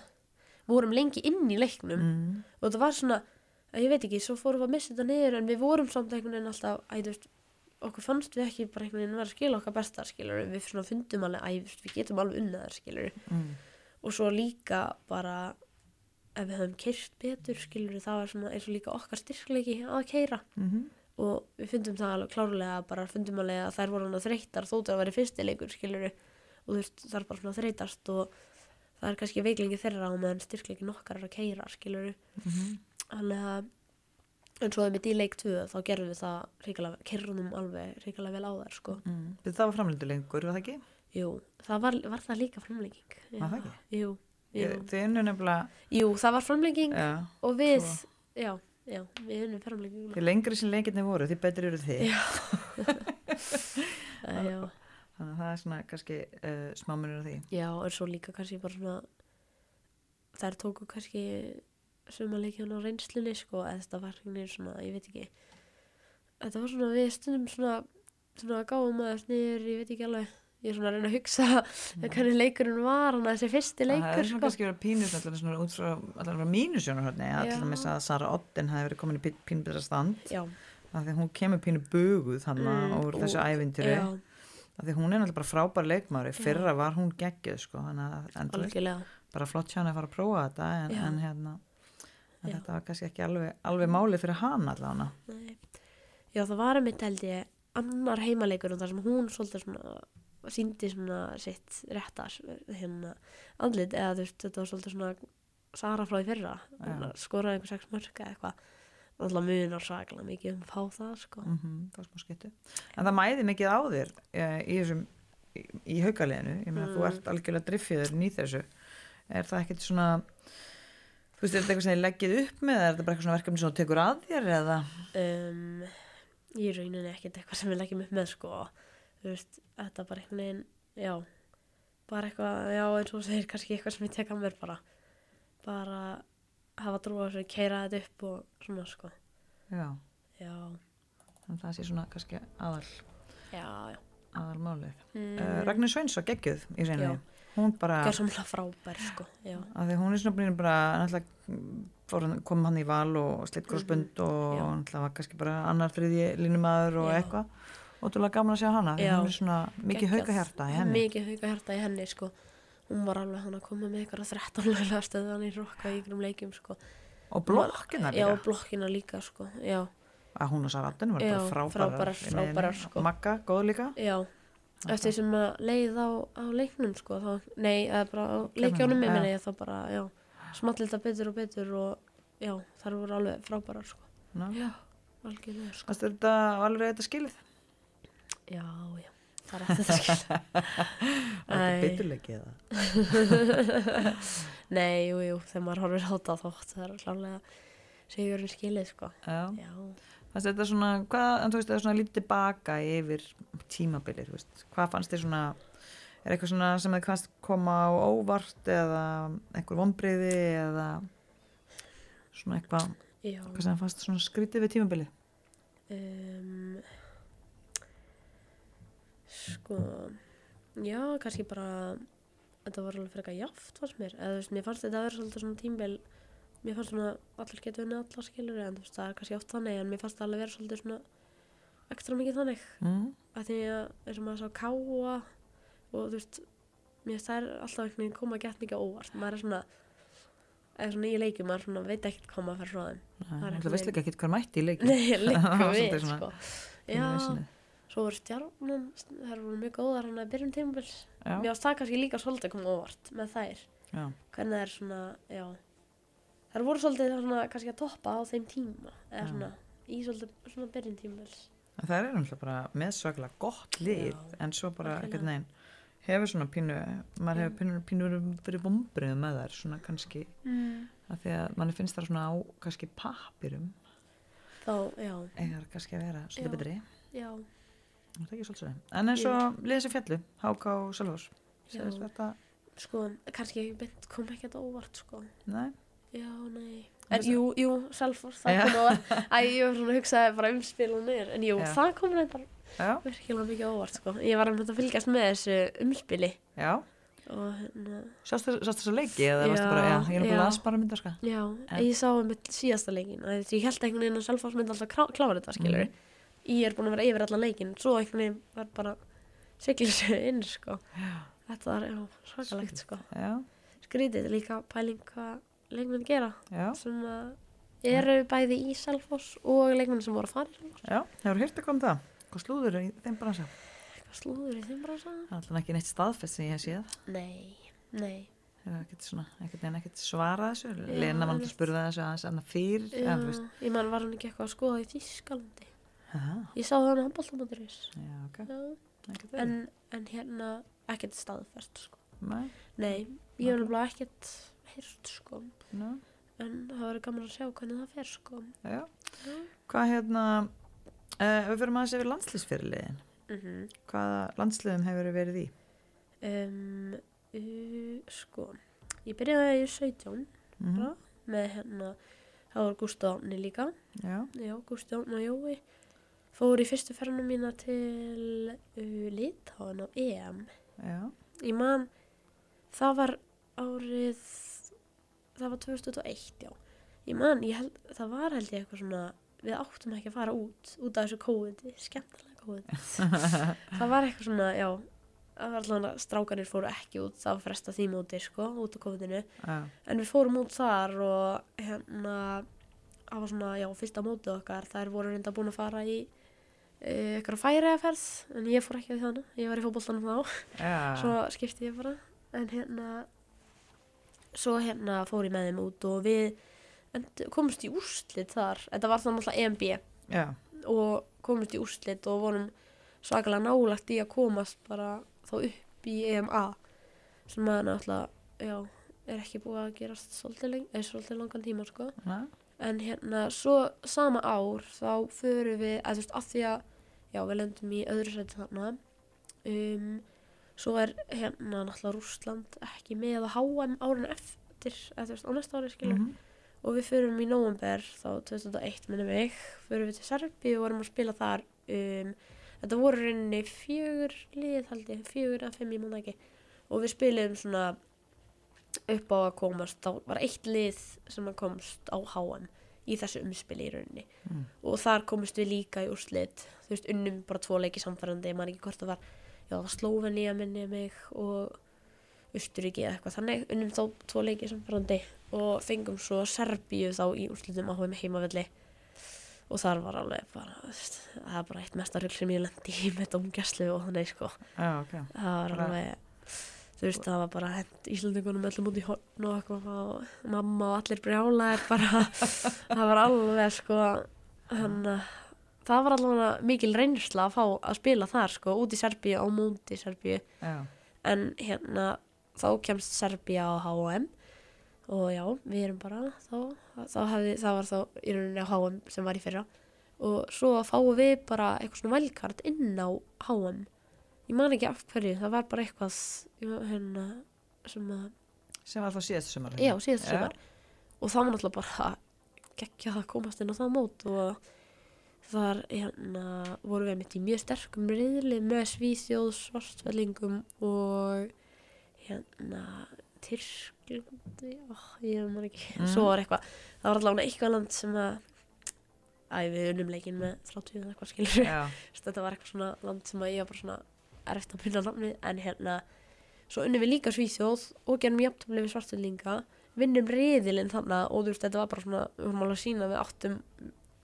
[SPEAKER 2] vorum lengi inn í leiknum
[SPEAKER 1] mm.
[SPEAKER 2] og það var svona, að ég veit ekki, svo fórum við að missa þetta niður en við vorum samt einhvern veginn alltaf, æ, þú veist, okkur fannst við ekki bara einhvern veginn vera að skila okkar besta, skilur, við svona fundum alveg, æ, þú veist, við getum alveg unnaðar, skilur
[SPEAKER 1] Mm.
[SPEAKER 2] og svo líka bara ef við höfum keirt betur skilur við það var svona eins og líka okkar styrkleiki að keira
[SPEAKER 1] Mm
[SPEAKER 2] og við fundum það alveg klárlega bara fundum alveg að þær voru hana þreytar þó það væri fyrsti leikur skilur við og þú veist það er bara svona þreytast og það er kannski veiklingi þeirra á meðan styrkleikin okkar er að keira skilur við
[SPEAKER 1] -hmm.
[SPEAKER 2] þannig að en svo með í leik 2 þá gerðum við það ríkilega, keirðum alveg ríkilega vel á þær sko
[SPEAKER 1] Mm. það var framlindu lengur, var það ekki?
[SPEAKER 2] jú, það var, var það líka framlenging
[SPEAKER 1] Var það ekki?
[SPEAKER 2] Já, jú, jú.
[SPEAKER 1] Þau unnu nefnilega
[SPEAKER 2] jú, það var framlenging
[SPEAKER 1] ja,
[SPEAKER 2] og
[SPEAKER 1] Eh,
[SPEAKER 2] við
[SPEAKER 1] Svo-
[SPEAKER 2] já, já, við unnum framlegginguna
[SPEAKER 1] því lengri sem leikinni voru, því betri eru þið
[SPEAKER 2] Já. Eh, já,
[SPEAKER 1] þannig að það er svona kannski uh, smámunir á því
[SPEAKER 2] já, en svo líka kannski bara svona þær tóku kannski sumarleikjana á reynslunni sko, eða þetta var hvernig svona, ég veit ekki þetta var svona, við stundum svona svona gáum að þess niður, ég veit ekki alveg ég er svona að reyna að hugsa hvernig leikurinn var, hann að þessi fyrsti
[SPEAKER 1] það er
[SPEAKER 2] leikur
[SPEAKER 1] svona
[SPEAKER 2] sko.
[SPEAKER 1] kannski verið pínus allan svona út frá allan frá mínusjónu hérna
[SPEAKER 2] Já.
[SPEAKER 1] allan með að Sara Otten hafi verið komin í pínu betra stand
[SPEAKER 2] já,
[SPEAKER 1] af því að hún kemur pínu buguð þannig
[SPEAKER 2] Mm,
[SPEAKER 1] mm, úr
[SPEAKER 2] og-
[SPEAKER 1] þessu ævindýri
[SPEAKER 2] já,
[SPEAKER 1] af því hún er náttúrulega bara frábær leikmári fyrra var hún geggjöð sko þannig að en, þú veist,
[SPEAKER 2] algjörlega
[SPEAKER 1] bara flott hjá hann að fara að prófa þetta en,
[SPEAKER 2] Já.
[SPEAKER 1] en hérna en
[SPEAKER 2] Já.
[SPEAKER 1] þetta var kannski ekki alveg, alveg máli fyrir hann allan
[SPEAKER 2] Nei. hérna, Já, það var einmitt held ég annar heimaleikur og þar sem hún svolítið svona síndi svona sitt réttar hérna andlit eða þú veist þetta var svolítið svona Sara frá í fyrra ja. skoraði einhver sex mörka eitthvað og alltaf munar svaklega mikið um að fá það sko.
[SPEAKER 1] mm það var smá skyttu en það mæði mikið á þér eh, í þessum í, í haukaliðinu, ég meina
[SPEAKER 2] Mm.
[SPEAKER 1] þú ert algjörlega driffiður í þessu er það ekkert svona þú veist, er þetta eitthvað sem þið leggið upp með eða er þetta bara eitthvað svona verkefni sem þú tekur að þér eða
[SPEAKER 2] um, ég rauninni ekkert eitthvað sem við leggjum upp með sko. þú veist, þetta bara einhvern veginn já, bara eitthvað já, eins og þú segir kannski eitthvað sem ég tek að mér bara bara hafa trú á þessu, keira þetta upp og svona sko,
[SPEAKER 1] já,
[SPEAKER 2] já
[SPEAKER 1] þannig að það sé svona kannski aðal,
[SPEAKER 2] já, já,
[SPEAKER 1] aðal málið
[SPEAKER 2] Mm.
[SPEAKER 1] uh, Ragnar Sveins og geggjuð í
[SPEAKER 2] Já.
[SPEAKER 1] reyninni hún bara,
[SPEAKER 2] gjör samlega frábær sko, já,
[SPEAKER 1] að því hún er svona búin bara náttúrulega kom hann í val og slitt grósbund og
[SPEAKER 2] Mhm. Já.
[SPEAKER 1] náttúrulega var kannski bara annar þriði línumadur og
[SPEAKER 2] Já.
[SPEAKER 1] eitthvað og þú gaman að sjá hana því
[SPEAKER 2] Já.
[SPEAKER 1] hún er svona mikið
[SPEAKER 2] Geggjað.
[SPEAKER 1] hauka í henni
[SPEAKER 2] mikið hauka hjarta í henni sko hún var alveg hann að koma með ykkur að 13 lögulega stöðan í rokka í ykkurum leikjum sko
[SPEAKER 1] og blokkina
[SPEAKER 2] já,
[SPEAKER 1] líka
[SPEAKER 2] blokkina líka sko, já,
[SPEAKER 1] að hún og Saratan var bara
[SPEAKER 2] Já,
[SPEAKER 1] frábærar,
[SPEAKER 2] frábærar,
[SPEAKER 1] í miðjunni.
[SPEAKER 2] frábærar, sko.
[SPEAKER 1] Magga, góð líka
[SPEAKER 2] já eftir því sem að leið á, á leiknum sko, þá, nei, eða bara á leikjónum ég
[SPEAKER 1] já.
[SPEAKER 2] meina ég þá bara, já smallið þetta betur og betur og já, þar voru alveg frábærar sko,
[SPEAKER 1] Ná,
[SPEAKER 2] algjörlega sko
[SPEAKER 1] fannst þér þetta alveg þetta skilið
[SPEAKER 2] já, já, það er eftir þetta skil
[SPEAKER 1] var þetta
[SPEAKER 2] Æ.
[SPEAKER 1] biturleiki eða
[SPEAKER 2] nei, jú, jú, þegar maður horfir á þetta þótt það er klálega sigurinn skilið sko,
[SPEAKER 1] Já.
[SPEAKER 2] já
[SPEAKER 1] fannst þér þetta svona hvað, en þú veist, það er svona lítið tilbaka yfir tímabilið, þú veist, hvað fannst þér svona er eitthvað svona sem þið kannast koma á óvart eða einhver vonbriði eða svona eitthvað,
[SPEAKER 2] já,
[SPEAKER 1] hvað sem fannst svona skrítið við tímabilið
[SPEAKER 2] um, sko já, kannski bara þetta var alveg frekar jaft fannst mér eða þú veist, mér fannst þetta að vera svolítið svona tímbil mér fannst svona allir geta unnið allar skilur en þú veist, það er kannski oft þannig en mér fannst það alveg vera svolítið svona ekstra mikið þannig
[SPEAKER 1] mm?
[SPEAKER 2] að því að eins og maður sá káa og þú veist mér finnst það er alltaf einhvern veginn koma að geta mikið á óvart maður er svona eða svona í leikjum, maður svona veit ekkert hvað maður fer frá þeim Það er
[SPEAKER 1] Nei, þú
[SPEAKER 2] einhvern
[SPEAKER 1] veist líka ekki hvað mætti í leikin
[SPEAKER 2] Nei,
[SPEAKER 1] Það
[SPEAKER 2] líka
[SPEAKER 1] var
[SPEAKER 2] við,
[SPEAKER 1] svolítið svona
[SPEAKER 2] sko. Já, svo voru stjarnan, þær voru mjög góðar hann að byrjum tímabils. Mér
[SPEAKER 1] já,
[SPEAKER 2] varst það kannski líka svolítið að koma óvart með þær.
[SPEAKER 1] já,
[SPEAKER 2] Hvernig það er svona, já, þær voru svolítið svona kannski að toppa á þeim tíma. Eða
[SPEAKER 1] Já.
[SPEAKER 2] svona, í svolítið svona byrjum tímabils.
[SPEAKER 1] En það er náttúrulega bara meðsvaklega gott lið
[SPEAKER 2] Já,
[SPEAKER 1] en svo bara
[SPEAKER 2] algjörlega.
[SPEAKER 1] ekkert neginn hefur svona pínu, maður hefur pínu, pínu verið- verið vombriðu með þær svona kannski
[SPEAKER 2] Mm.
[SPEAKER 1] að því að manni finnst það svona á kannski papirum
[SPEAKER 2] þá, já,
[SPEAKER 1] eigar kannski að vera svolítið
[SPEAKER 2] Já.
[SPEAKER 1] betri
[SPEAKER 2] já,
[SPEAKER 1] Er það ekki svolítið svoleiðis? en eins og liðið sem fjallu, HK og Selvors
[SPEAKER 2] Já.
[SPEAKER 1] segist þetta,
[SPEAKER 2] sko, kannski ekki beint kom ekki þetta óvart, sko.
[SPEAKER 1] nei,
[SPEAKER 2] Já, nei.
[SPEAKER 1] En
[SPEAKER 2] En jú, jú, Salford, það
[SPEAKER 1] Já.
[SPEAKER 2] kom á óvart. Æ, ég var svona að hugsa bara um spil og niður, en jú,
[SPEAKER 1] Já.
[SPEAKER 2] það kom reyndar
[SPEAKER 1] já,
[SPEAKER 2] virkilega mikið á óvart, sko. Ég var einmitt að fylgjast með þessu umspili
[SPEAKER 1] já
[SPEAKER 2] og hérna,
[SPEAKER 1] sástu sástu þess að leiki eða varstu
[SPEAKER 2] Já,
[SPEAKER 1] bara, já, ég er
[SPEAKER 2] já.
[SPEAKER 1] bara las bara sko. myndarska
[SPEAKER 2] já,
[SPEAKER 1] En-
[SPEAKER 2] ég sá einmitt síðasta leikin, að ég held einhvern veginn að Salford myndi alltaf krá- klára þetta, skilur.
[SPEAKER 1] Mhm.
[SPEAKER 2] Ég er búin að vera yfir allan leikin, svo einhvern veginn var bara siglir sig inn, sko. Þetta var, já, svakalegt, sko.
[SPEAKER 1] Mhm. já,
[SPEAKER 2] Skrítið líka pæling hvað leikmenn gera
[SPEAKER 1] já,
[SPEAKER 2] sem að eru bæði í Selfoss og leikmenn sem voru að fara í Selfoss
[SPEAKER 1] já hefur hýrt eitthvað um það, hvað slúður er í þeim bransa
[SPEAKER 2] eitthvað slúður í þeim bransa
[SPEAKER 1] það er alltaf ekki neitt staðfest sem ég hef séð
[SPEAKER 2] nei, nei,
[SPEAKER 1] hefur ekkert svona, ekkert neina ekkert svarað þessu
[SPEAKER 2] Já,
[SPEAKER 1] Lena var alltaf
[SPEAKER 2] einmitt.
[SPEAKER 1] að spurða þessu aðeins annað fyrir,
[SPEAKER 2] já,
[SPEAKER 1] eða þú veist
[SPEAKER 2] ég man var hann ekki eitthvað að skoða í Þískalandi
[SPEAKER 1] Aha,
[SPEAKER 2] ég sá hann að handbóltamanduris
[SPEAKER 1] já, ok, ekkert
[SPEAKER 2] en, en hérna ekkert staðfært sko.
[SPEAKER 1] Nei,
[SPEAKER 2] nei, ég hef nefnilega ekkert heyrt sko
[SPEAKER 1] no,
[SPEAKER 2] en það verður gaman að sjá hvernig það fer sko
[SPEAKER 1] já.
[SPEAKER 2] Já.
[SPEAKER 1] Hvað hérna, uh, við fyrir maður sér við landslýsfyrirliðin.
[SPEAKER 2] mhm
[SPEAKER 1] Hvaða landsliðum hefur verið í?
[SPEAKER 2] um, uh, sko ég byrjaði í 17
[SPEAKER 1] Mm
[SPEAKER 2] Bra. með hérna það var Gústa Árni líka
[SPEAKER 1] Já,
[SPEAKER 2] Já, Gústi Jón og Jói fór í fyrstu ferðinu mína til uh, Litáin á EM.
[SPEAKER 1] já,
[SPEAKER 2] Ég man, það var árið, það var 2001, já. Ég man, ég held, það var held ég eitthvað svona, við áttum ekki að fara út, út af þessu kóðið, skemmtilega kóðið. það var eitthvað svona, já, það var allan að strákanir fóru ekki út, það var fresta því móti, sko, út af kóðinu.
[SPEAKER 1] já,
[SPEAKER 2] En við fórum út þar og hérna, það var svona, já, fyrsta mótið okkar, þær voru reynda búin að fara í uh, ykkur færiðaferð, en ég fór ekki að þannig, ég var í fótboltanum þá,
[SPEAKER 1] já,
[SPEAKER 2] svo skipti ég bara, en hérna, svo hérna fór ég með þeim út og við end- komumst í úrslit þar, þetta var þannig alltaf EMB
[SPEAKER 1] já,
[SPEAKER 2] og komumst í úrslit og vorum svakalega nálagt í að komast bara þá upp í EMA sem að náttúrulega já, er ekki búið að gerast svolítið, leng eða, svolítið langan tíma sko.
[SPEAKER 1] na,
[SPEAKER 2] en hérna svo sama ár þá förum við að þú veist af því að já við lendum í öðru sæti þarna um, svo er hérna náttúrulega Rússland ekki með að HM árin eftir eða þú veist á næsta ári skilur
[SPEAKER 1] mhm,
[SPEAKER 2] og við förum í november þá 2001 minnum mig förum við til Serbi og vorum að spila þar um, þetta voru í rauninni fjögur lið held ég, fjögur að fimm ég manna ekki og við spilum svona upp á að komast þá var eitt lið sem að komst á HM í þessu umspili í rauninni
[SPEAKER 1] Mm.
[SPEAKER 2] og þar komist við líka í úrslit þú veist unnum bara tvo leiki samfærandi ég man ekki hvort það var, já það var Slóvenía minni mig og Östuríki eða eitthvað þannig, unnum þá tvo leiki samfærandi og fengum svo Serbíu þá í úrslutum á HM heimavelli og þar var alveg bara, þú veist, það er bara eitt mesta rugl sem ég lendi í með domgæslu og þannig sko,
[SPEAKER 1] já, ok,
[SPEAKER 2] það var
[SPEAKER 1] Bara-
[SPEAKER 2] alveg þú veist, það var bara hent Íslandingunum öllum út í horn og eitthvað og mamma og allir brjálaðir bara það var alveg sko hann, það var alveg mikil reynsla að fá að spila þar sko, út í Serbíu á móti Serbíu
[SPEAKER 1] já,
[SPEAKER 2] en hérna þá kemst Serbia á H&M og já, við erum bara þá, þá hefði, það var þá í rauninni á H&M sem var í fyrra og svo fáum við bara eitthvað svona vælkart inn á H&M ég man ekki af hverju, það var bara eitthvað ég man- hérna sem að,
[SPEAKER 1] sem var þá síðast sumar. hérna.
[SPEAKER 2] já, síðast
[SPEAKER 1] Já.
[SPEAKER 2] sumar og það var náttúrulega bara geggja að komast inn á það mót og þar hérna vorum við mitt í mjög sterkum reyðli með svíþjóð, svartfellingum og hérna Tyrklandi oh, ég maður ekki,
[SPEAKER 1] Mm.
[SPEAKER 2] svo var eitthvað það var allavega eitthvað land sem að æ, við unnum leikinn með 30 eða eitthvað skilur
[SPEAKER 1] Já,
[SPEAKER 2] þetta var eitthvað svona land sem að ég var bara svona erfitt að mynda nafnið en hérna svo unnum við líka Svíþjóð og gerum jafntöfli við svartfyllinga vinnum riðilinn þarna og þú veist þetta var bara svona við vorum alveg að sína að við áttum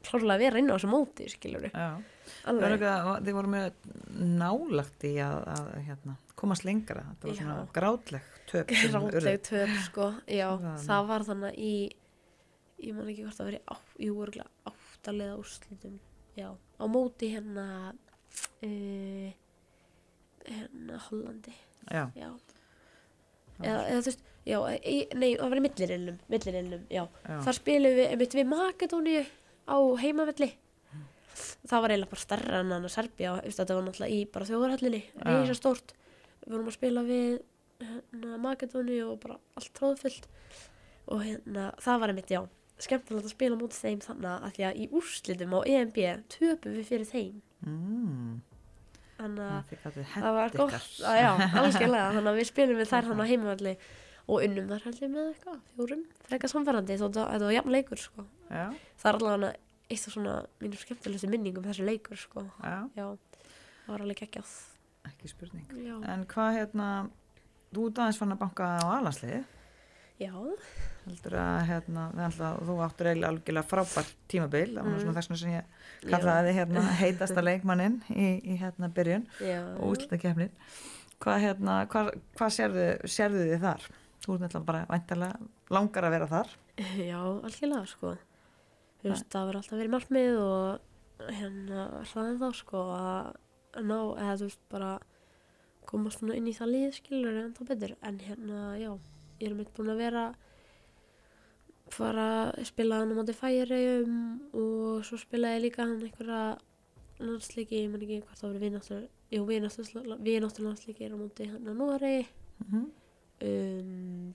[SPEAKER 2] klárlega að vera inn á þessu móti skiljur
[SPEAKER 1] já. Það var eitthvað, að þið voru mjög nálagt í að, að hérna, komast lengra. Þetta var svona
[SPEAKER 2] Já.
[SPEAKER 1] grátleg töp. sem urðu.
[SPEAKER 2] ráðleg töf sko já,
[SPEAKER 1] Vá.
[SPEAKER 2] það var þannig í ég man ekki hvort það var í á, jú, örugglega áttalega úrslitum já, á móti hérna uh, hérna Hollandi
[SPEAKER 1] Já,
[SPEAKER 2] já
[SPEAKER 1] Það
[SPEAKER 2] eða, eða þú veist, já, e, nei, það var í millirinnum millirinnum, já,
[SPEAKER 1] já,
[SPEAKER 2] þar spilum við einmitt við Makedóníu á heimavelli það var eiginlega bara stærra en hann að Serbía þú veist, þetta var náttúrulega í bara þjóðarhallinni
[SPEAKER 1] Já.
[SPEAKER 2] reysa stórt, við vorum að spila við hérna, Makedóni og bara allt tróðfyllt og hérna, það var einmitt, já skemmtilegt að spila mútið þeim þannig að því að í úrslitum á EMB töpum við fyrir þeim
[SPEAKER 1] Mm,
[SPEAKER 2] þannig að
[SPEAKER 1] það var
[SPEAKER 2] það var gott, að, já, algjörlega þannig að við spilum við þær hann á heimavalli og unnum þar heldur með eitthvað, fjórum frekar samferðandi, þó þetta þetta var jafn leikur sko.
[SPEAKER 1] Já,
[SPEAKER 2] það er allavega eitt af svona mínum skemmtilegustu minningum þessi leikur sko.
[SPEAKER 1] já,
[SPEAKER 2] já, það var alveg geggjað
[SPEAKER 1] ekki spurning.
[SPEAKER 2] já,
[SPEAKER 1] En hvað hérna, þú ert aðeins fann að banka á alansliði,
[SPEAKER 2] já,
[SPEAKER 1] heldur að hérna, við ætlaðum að þú áttur eiginlega algjörlega frábært tímabil, það var nú
[SPEAKER 2] Mm.
[SPEAKER 1] svona þess vegna sem ég kallaði þig hérna heitasta leikmannin í, í hérna byrjun
[SPEAKER 2] já.
[SPEAKER 1] og útlættakefnin. Hvað hérna, hvað, hvað sérðu, sérðu þið þar? Þú ert náttúrulega bara væntalega langar að vera þar.
[SPEAKER 2] Já, algjörlega sko Þú veist, það verður alltaf verið markmið og hérna hraðan þá sko að ná, eða þú veist, bara koma svona inn í það lið skilur en það betur, en hérna, já ég er mitt búin að vera fara að spila hann á móti færiðum og svo spilaði ég líka hann einhverja landsleiki, ég man ekki hvort það verið vináttur jú, vináttur vináttur landsleiki er á móti hann að Noregi
[SPEAKER 1] Mm -hmm.
[SPEAKER 2] um,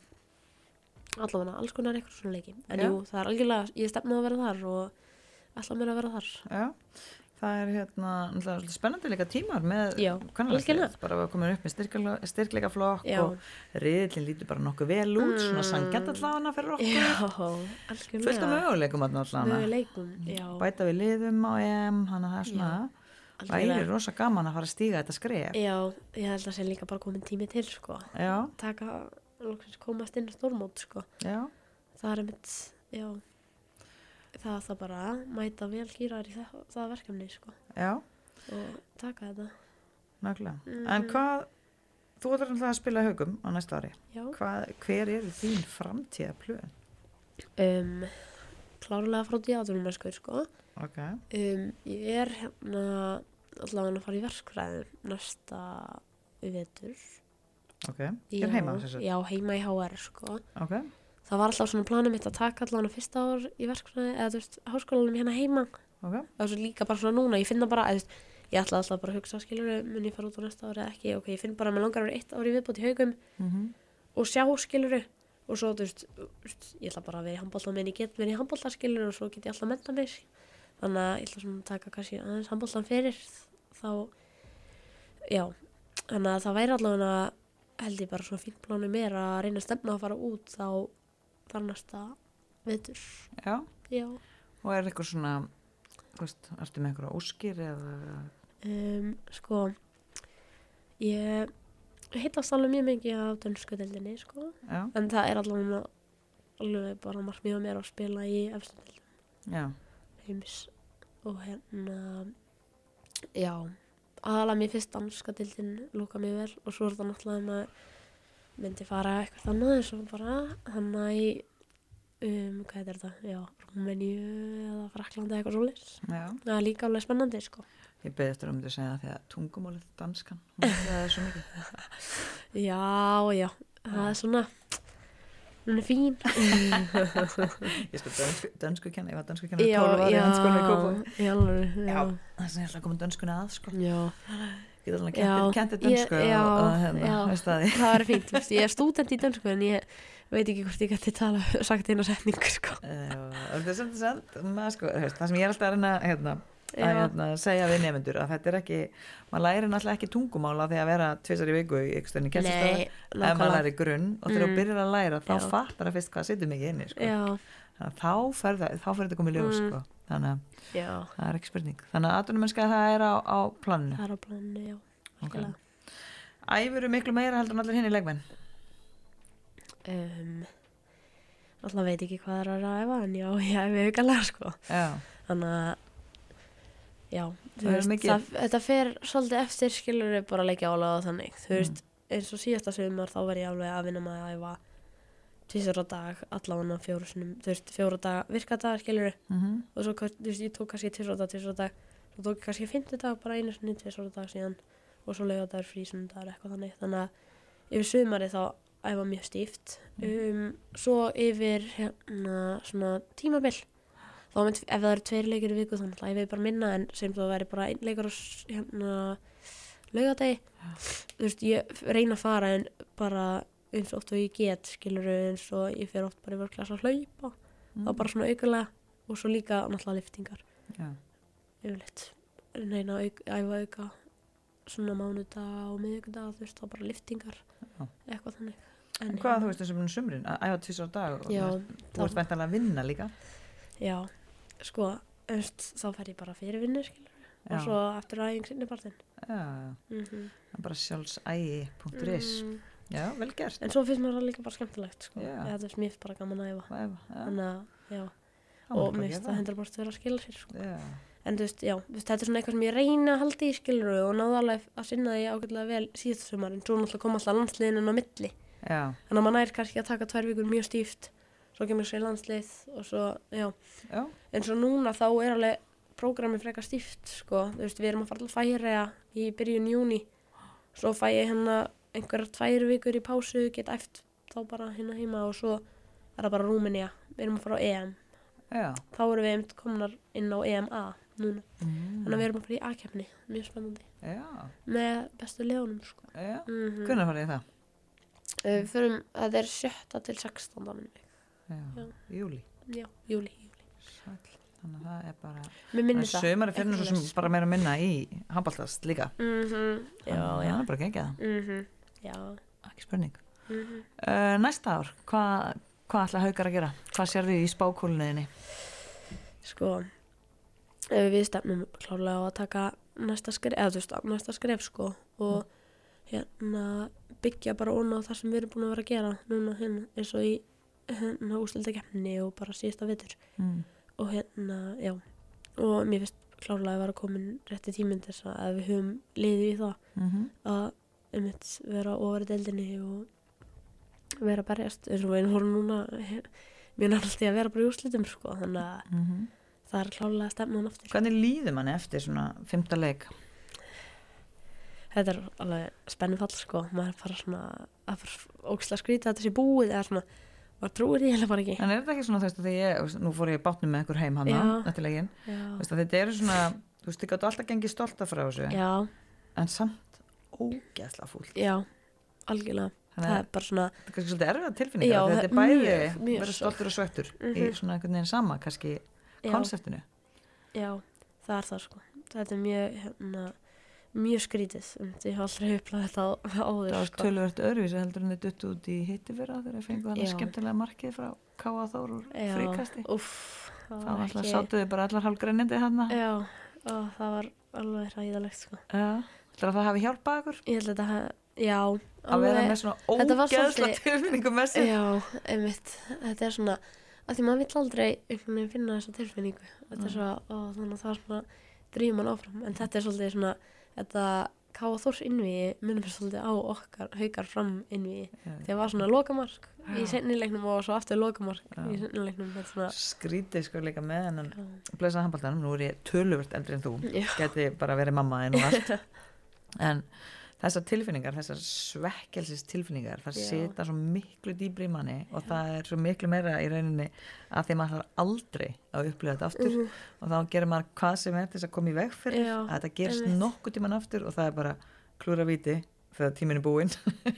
[SPEAKER 2] allavega alls konar eitthvað svona leiki en
[SPEAKER 1] Já.
[SPEAKER 2] jú, það er algjörlega, ég stefna að vera þar og alltaf mér að vera þar
[SPEAKER 1] Já, það er hérna náttúrulega svolítið spennandi líka tímar með
[SPEAKER 2] Já,
[SPEAKER 1] kvennalandsliðið.
[SPEAKER 2] algjörlega.
[SPEAKER 1] bara við komum upp með styrklega, styrklegaflokk
[SPEAKER 2] Já.
[SPEAKER 1] og riðillin lítur bara nokkuð vel út svona
[SPEAKER 2] Mm.
[SPEAKER 1] sangjant allavega fyrir okkur
[SPEAKER 2] já,
[SPEAKER 1] fullt af
[SPEAKER 2] algjörlega
[SPEAKER 1] möguleikum þarna
[SPEAKER 2] við
[SPEAKER 1] allavega
[SPEAKER 2] leikum, já,
[SPEAKER 1] bæta við liðum á EM hann að það er svona væri
[SPEAKER 2] algjörlega Eh.
[SPEAKER 1] rosa gaman að fara að stíga þetta skref
[SPEAKER 2] já, ég held að sé líka bara komin tími til sko,
[SPEAKER 1] já,
[SPEAKER 2] taka loksins komast inn á stórmót sko,
[SPEAKER 1] já,
[SPEAKER 2] það er mitt já, það er það bara að mæta vel gýrar í það, það verkefni sko,
[SPEAKER 1] já,
[SPEAKER 2] og taka þetta
[SPEAKER 1] nöglega
[SPEAKER 2] Mhm.
[SPEAKER 1] en hvað, þú ætlar náttúrulega að spila haugum á næsta ári
[SPEAKER 2] já,
[SPEAKER 1] hvað, hver er þín framtíða plön?
[SPEAKER 2] um klárlega frá djáðunum sko
[SPEAKER 1] ok,
[SPEAKER 2] Um, ég er hérna allavega að fara í verkfræðum næsta vetur.
[SPEAKER 1] ok, ég er heima sem sagt.
[SPEAKER 2] Já, heima í HR sko.
[SPEAKER 1] ok,
[SPEAKER 2] Það var alltaf svona planum mitt að taka allavega fyrsta ár í verkfræði eða þú veist, háskólanum hérna heima.
[SPEAKER 1] ok,
[SPEAKER 2] Það er svo líka bara svona núna, ég finna bara, eða þú veist, ég ætla alltaf bara að hugsa skilur, mun ég fara út á næsta ár eða ekki, ok, ég finn bara að mér langar að vera eitt ár í viðbúti í haugum
[SPEAKER 1] mhm
[SPEAKER 2] og sjá skiluru og svo, þú veist, þú veist, ég ætla bara að vera í handbólta meðan ég get verið í handbólta skiluru og svo get ég alltaf að mennta mig þannig að ég ætla svona að taka kannski aðeins handbóltan fyrir þá, já þannig að það væri allavega held ég bara svona fínt plánu mér að reyna að stefna að fara út þá þar næsta vetur
[SPEAKER 1] já
[SPEAKER 2] já,
[SPEAKER 1] Og er eitthvað svona, þú veist, ertu með einhverja óskir eða,
[SPEAKER 2] um, sko ég hittast alveg mjög mikið af dönsku deildinni, sko
[SPEAKER 1] já,
[SPEAKER 2] en það er allavega alveg bara markmið á mér að spila í efstundil
[SPEAKER 1] já,
[SPEAKER 2] heims og hérna já, aðalega mér fyrst danska dildin lúka mér vel og svo er það náttúrulega að maður myndi fara eitthvað annað eins og bara hann að í um, hvað er þetta, já, Rúmeníu eða Fraklandi eitthvað svoleiðis
[SPEAKER 1] já.
[SPEAKER 2] það er líka alveg spennandi sko
[SPEAKER 1] Ég beði eftir um því að segja það því að tungumálið danskan, hún það er svo mikið.
[SPEAKER 2] já, já, það er svona hún er fín
[SPEAKER 1] Ég sko dönsku, dönsku kenna, ég var dönsku kenna
[SPEAKER 2] já,
[SPEAKER 1] 12 ári í hanskóla í Kópa.
[SPEAKER 2] í alveg
[SPEAKER 1] Já, það er sem ég ætla að koma dönskuna að, sko.
[SPEAKER 2] já.
[SPEAKER 1] Ég ætla
[SPEAKER 2] Já,
[SPEAKER 1] að kenta
[SPEAKER 2] ég-
[SPEAKER 1] dönsku
[SPEAKER 2] já,
[SPEAKER 1] og, og hérna,
[SPEAKER 2] já.
[SPEAKER 1] veist það því.
[SPEAKER 2] það var fínt, þú veist, ég er stúdent í dönsku en ég veit ekki hvort ég gæti tala sagt einu setningu, sko
[SPEAKER 1] Eh, Það er sem sagt, maður sko, hefst, það sem ég er alltaf að reyna, hérna, að
[SPEAKER 2] Já,
[SPEAKER 1] hérna, segja við nefnendur að þetta er ekki, maður læri náttúrulega ekki tungumála því að vera tvisar í viku í ykkur stöðinni kennstastöða.
[SPEAKER 2] nei,
[SPEAKER 1] ef maður
[SPEAKER 2] nákvæmlega
[SPEAKER 1] læri grunn og þegar þú
[SPEAKER 2] Mm.
[SPEAKER 1] byrjar að læra þá
[SPEAKER 2] Já.
[SPEAKER 1] fattar það fyrst hvað situr mikið inni sko.
[SPEAKER 2] Já,
[SPEAKER 1] Þannig að þá fer það- þá fer þetta komið ljós
[SPEAKER 2] Mm.
[SPEAKER 1] sko. þannig að
[SPEAKER 2] já,
[SPEAKER 1] það er ekki spurning þannig að atvinnumennska það er á, á planinu
[SPEAKER 2] það er á planinu, já algjörlega.
[SPEAKER 1] Æfur eru miklu meira heldur en allir hinn í leikmenn
[SPEAKER 2] um, Alltaf veit ekki hvað það er að ræfa en já, ég hef ekki að læra, sko
[SPEAKER 1] Já,
[SPEAKER 2] Þannig að Já, þú
[SPEAKER 1] Það er mikið.
[SPEAKER 2] það, þetta fer svolítið eftir skilur við bara leikja álega og þannig Þú
[SPEAKER 1] Mm.
[SPEAKER 2] veist, eins og síðasta sumar þá var ég alveg að vinna með að æfa tvisar á dag, allavega fjóru sinum, þú veist, fjóru dag, virka dagar skilur
[SPEAKER 1] mm
[SPEAKER 2] og svo kann- þú veist, ég tók kannski tvisvar á dag, tvisvar á dag svo tók ég kannski fymtu dag, bara einu sinni tvisvar á dag síðan og svo laugardagur frí sunnudagur eitthvað þannig, þannig að yfir sumari þá æfa mjög stíft um, svo yfir hérna svona tímabil þá mynd, ef það eru tveir leikir í viku þá náttúrulega ég veið bara minna en sem þú væri bara einn leikur á s- hérna, laugadegi þú veist, ég f- reyna að fara en bara eins oft og ég get skilur eins og ég fer oft bara í vörklas að hlaupa
[SPEAKER 1] mhm.
[SPEAKER 2] þá bara svona aukulega og svo líka náttúrulega liftingar
[SPEAKER 1] Já.
[SPEAKER 2] yfirleitt reyna að auk, æfa auka svona mánudag og miðvikudag þú veist, þá bara liftingar
[SPEAKER 1] Já.
[SPEAKER 2] eitthvað þannig hérna,
[SPEAKER 1] En hvað þú veist þessum sumrin, að æfa tvisar dag og
[SPEAKER 2] já,
[SPEAKER 1] þú ert væntanlega að vinna líka
[SPEAKER 2] já, sko þú veist, þá fer ég bara fyrir vinnu skilur
[SPEAKER 1] Já.
[SPEAKER 2] og svo eftir aðeins sinni partinn
[SPEAKER 1] Já, já.
[SPEAKER 2] mm -hmm.
[SPEAKER 1] Það er bara sjálfsægi.is
[SPEAKER 2] Mm.
[SPEAKER 1] Já, vel gert
[SPEAKER 2] en svo finnst mér það líka bara skemmtilegt sko.
[SPEAKER 1] Já.
[SPEAKER 2] eða þú veist, mér finnst bara gaman að æfa
[SPEAKER 1] Og ef- já,
[SPEAKER 2] þannig að, já,
[SPEAKER 1] það má bara
[SPEAKER 2] og mér finnst
[SPEAKER 1] gera
[SPEAKER 2] það hendur bara vera að skila sér sko.
[SPEAKER 1] Já,
[SPEAKER 2] en þú veist, já, þú veist, þetta er svona eitthvað sem ég reyna að halda í skilur og náða alveg að sinna því ágætlega vel síðast sumar en svo náttúrulega kom alltaf landsliðin en á milli
[SPEAKER 1] já,
[SPEAKER 2] þannig að maður nær kannski að taka tvær vikur mjög stíft svo kemur sér landslið og svo, já,
[SPEAKER 1] já,
[SPEAKER 2] en svo núna þá er alveg prógramið frekar stíft, sko, þú veist, við erum að fara til færiða í byrjun júni svo fæ ég hérna einhverjar tvær vikur í pásu, get eft þá bara hérna heima og svo er það bara Rúmenía, við erum að fara á EM
[SPEAKER 1] já
[SPEAKER 2] þá erum við einmitt komnar inn á EMA núna,
[SPEAKER 1] Mm,
[SPEAKER 2] þannig að við erum að fara í A-kefni mjög spennandi,
[SPEAKER 1] Já,
[SPEAKER 2] með bestu leðunum, sko
[SPEAKER 1] já
[SPEAKER 2] mm
[SPEAKER 1] Hvernig farið þið það?
[SPEAKER 2] Við förum, það er sjötta til 16. minni.
[SPEAKER 1] Já,
[SPEAKER 2] Já.
[SPEAKER 1] júli
[SPEAKER 2] já, júli, júli
[SPEAKER 1] Sæll Þannig að það er bara
[SPEAKER 2] Mér minnir það.
[SPEAKER 1] Sumari finnur svo sem
[SPEAKER 2] Einhvers.
[SPEAKER 1] bara meira að minna í handbaltast líka
[SPEAKER 2] Mhm, Já,
[SPEAKER 1] Þannig að
[SPEAKER 2] já.
[SPEAKER 1] Það er bara ekki það,
[SPEAKER 2] Mhm, Já.
[SPEAKER 1] ekki spurning
[SPEAKER 2] mhm.
[SPEAKER 1] uh, Næsta ár, hvað hva ætla haukar að gera? Hvað sérðu í spákúlunniðinni?
[SPEAKER 2] Sko, eh, við stefnum klárlega á að taka næsta skref, eða þú veist, á næsta skref sko og hérna byggja bara ón á það sem við erum búin að vera að gera núna hérna eins og í hérna úsleita kemni og bara síðasta vetur
[SPEAKER 1] Mm.
[SPEAKER 2] og hérna, já og mér finnst klárlega að vera komin rétti tíminn til þess að við höfum liðið í það
[SPEAKER 1] Mm
[SPEAKER 2] að einmitt vera ofar í deildinni og vera að berjast eins og við vorum núna mjög nærlasti að vera bara í úrslitum sko þannig að það er klálega að stemna hann aftur
[SPEAKER 1] Hvernig líður manni eftir svona fymta leik?
[SPEAKER 2] þetta er alveg spennum fall sko maður er bara svona að fara óksla skrýta þetta sé búið eða svona maður trúir því heila bara ekki
[SPEAKER 1] En er þetta ekki svona þú veist að því ég, nú fór ég í bátnum með einhver heim hana,
[SPEAKER 2] Já.
[SPEAKER 1] þetta legin, þú
[SPEAKER 2] já,
[SPEAKER 1] veist að þetta eru svona, þú veist, þið gáttu alltaf gengið stolta frá þessu,
[SPEAKER 2] já,
[SPEAKER 1] en samt ógeðslega fúlt.
[SPEAKER 2] já algjörlega,
[SPEAKER 1] Þannig
[SPEAKER 2] það
[SPEAKER 1] að
[SPEAKER 2] er bara svona
[SPEAKER 1] þetta er kannski svolítið erfiða tilfinningar,
[SPEAKER 2] Já,
[SPEAKER 1] af því þetta er
[SPEAKER 2] það er
[SPEAKER 1] bæði
[SPEAKER 2] mjög- mjög
[SPEAKER 1] verið stoltur og sveittur í
[SPEAKER 2] Mhm.
[SPEAKER 1] svona einhvern veginn sama, kannski
[SPEAKER 2] já,
[SPEAKER 1] konseptinu.
[SPEAKER 2] já, það er það sko þetta er mjög hérna, mjög skrítið, einmitt, ég hef aldrei upplað þetta á- áður
[SPEAKER 1] Það var
[SPEAKER 2] sko.
[SPEAKER 1] tölvöld öðruvísi heldur en þið dutt út í hitti vera þegar þið fengu þannig
[SPEAKER 2] Já.
[SPEAKER 1] skemmtilega markið frá K.A. Þór úr
[SPEAKER 2] Já,
[SPEAKER 1] fríkasti.
[SPEAKER 2] úff, það
[SPEAKER 1] Það var
[SPEAKER 2] var
[SPEAKER 1] alltaf,
[SPEAKER 2] ekki
[SPEAKER 1] sáttu þið bara allar hálfgreinindi hérna.
[SPEAKER 2] Já, ó, það var alveg ræðilegt sko.
[SPEAKER 1] Já. Ætlar að það hafi hjálpað ykkur
[SPEAKER 2] Ég held að þetta hafi, já
[SPEAKER 1] að vera
[SPEAKER 2] alveg-
[SPEAKER 1] með svona
[SPEAKER 2] Þetta var
[SPEAKER 1] ógeðsla
[SPEAKER 2] svolítið-
[SPEAKER 1] tilfinningum með sér?
[SPEAKER 2] Já, einmitt, þetta er svona að því maður vill aldrei einhvern veginn finna þessa tilfinningu þetta er
[SPEAKER 1] Mm.
[SPEAKER 2] svo, ó, þannig að það var svona drýjum mann áfram, en þetta er svolítið svona þetta Káa Þórs innvíi minnum við svolítið á okkar, haukar fram innvíi,
[SPEAKER 1] Já.
[SPEAKER 2] þegar var svona lokamark
[SPEAKER 1] Já.
[SPEAKER 2] í seinni leiknum og svo aftur lokamark
[SPEAKER 1] Já.
[SPEAKER 2] í seinni leiknum, þetta er svona
[SPEAKER 1] skrítið sko líka með hennan
[SPEAKER 2] já,
[SPEAKER 1] blessaða handbaltanum, nú er ég töluvert eldri en þú
[SPEAKER 2] Já.
[SPEAKER 1] geti bara verið mamma en og allt en þessar tilfinningar þessar svekkelsis tilfinningar það
[SPEAKER 2] Já.
[SPEAKER 1] sita svo miklu dýbri í manni og það er svo miklu meira í rauninni að því maður þarf aldrei að upplifa þetta aftur og þá gerir maður hvað sem er til þess að koma í veg fyrir
[SPEAKER 2] Mhm, Já,
[SPEAKER 1] að þetta gerist
[SPEAKER 2] einmitt.
[SPEAKER 1] nokkuð tíman aftur og það er bara klúra viti þegar tíminn er búinn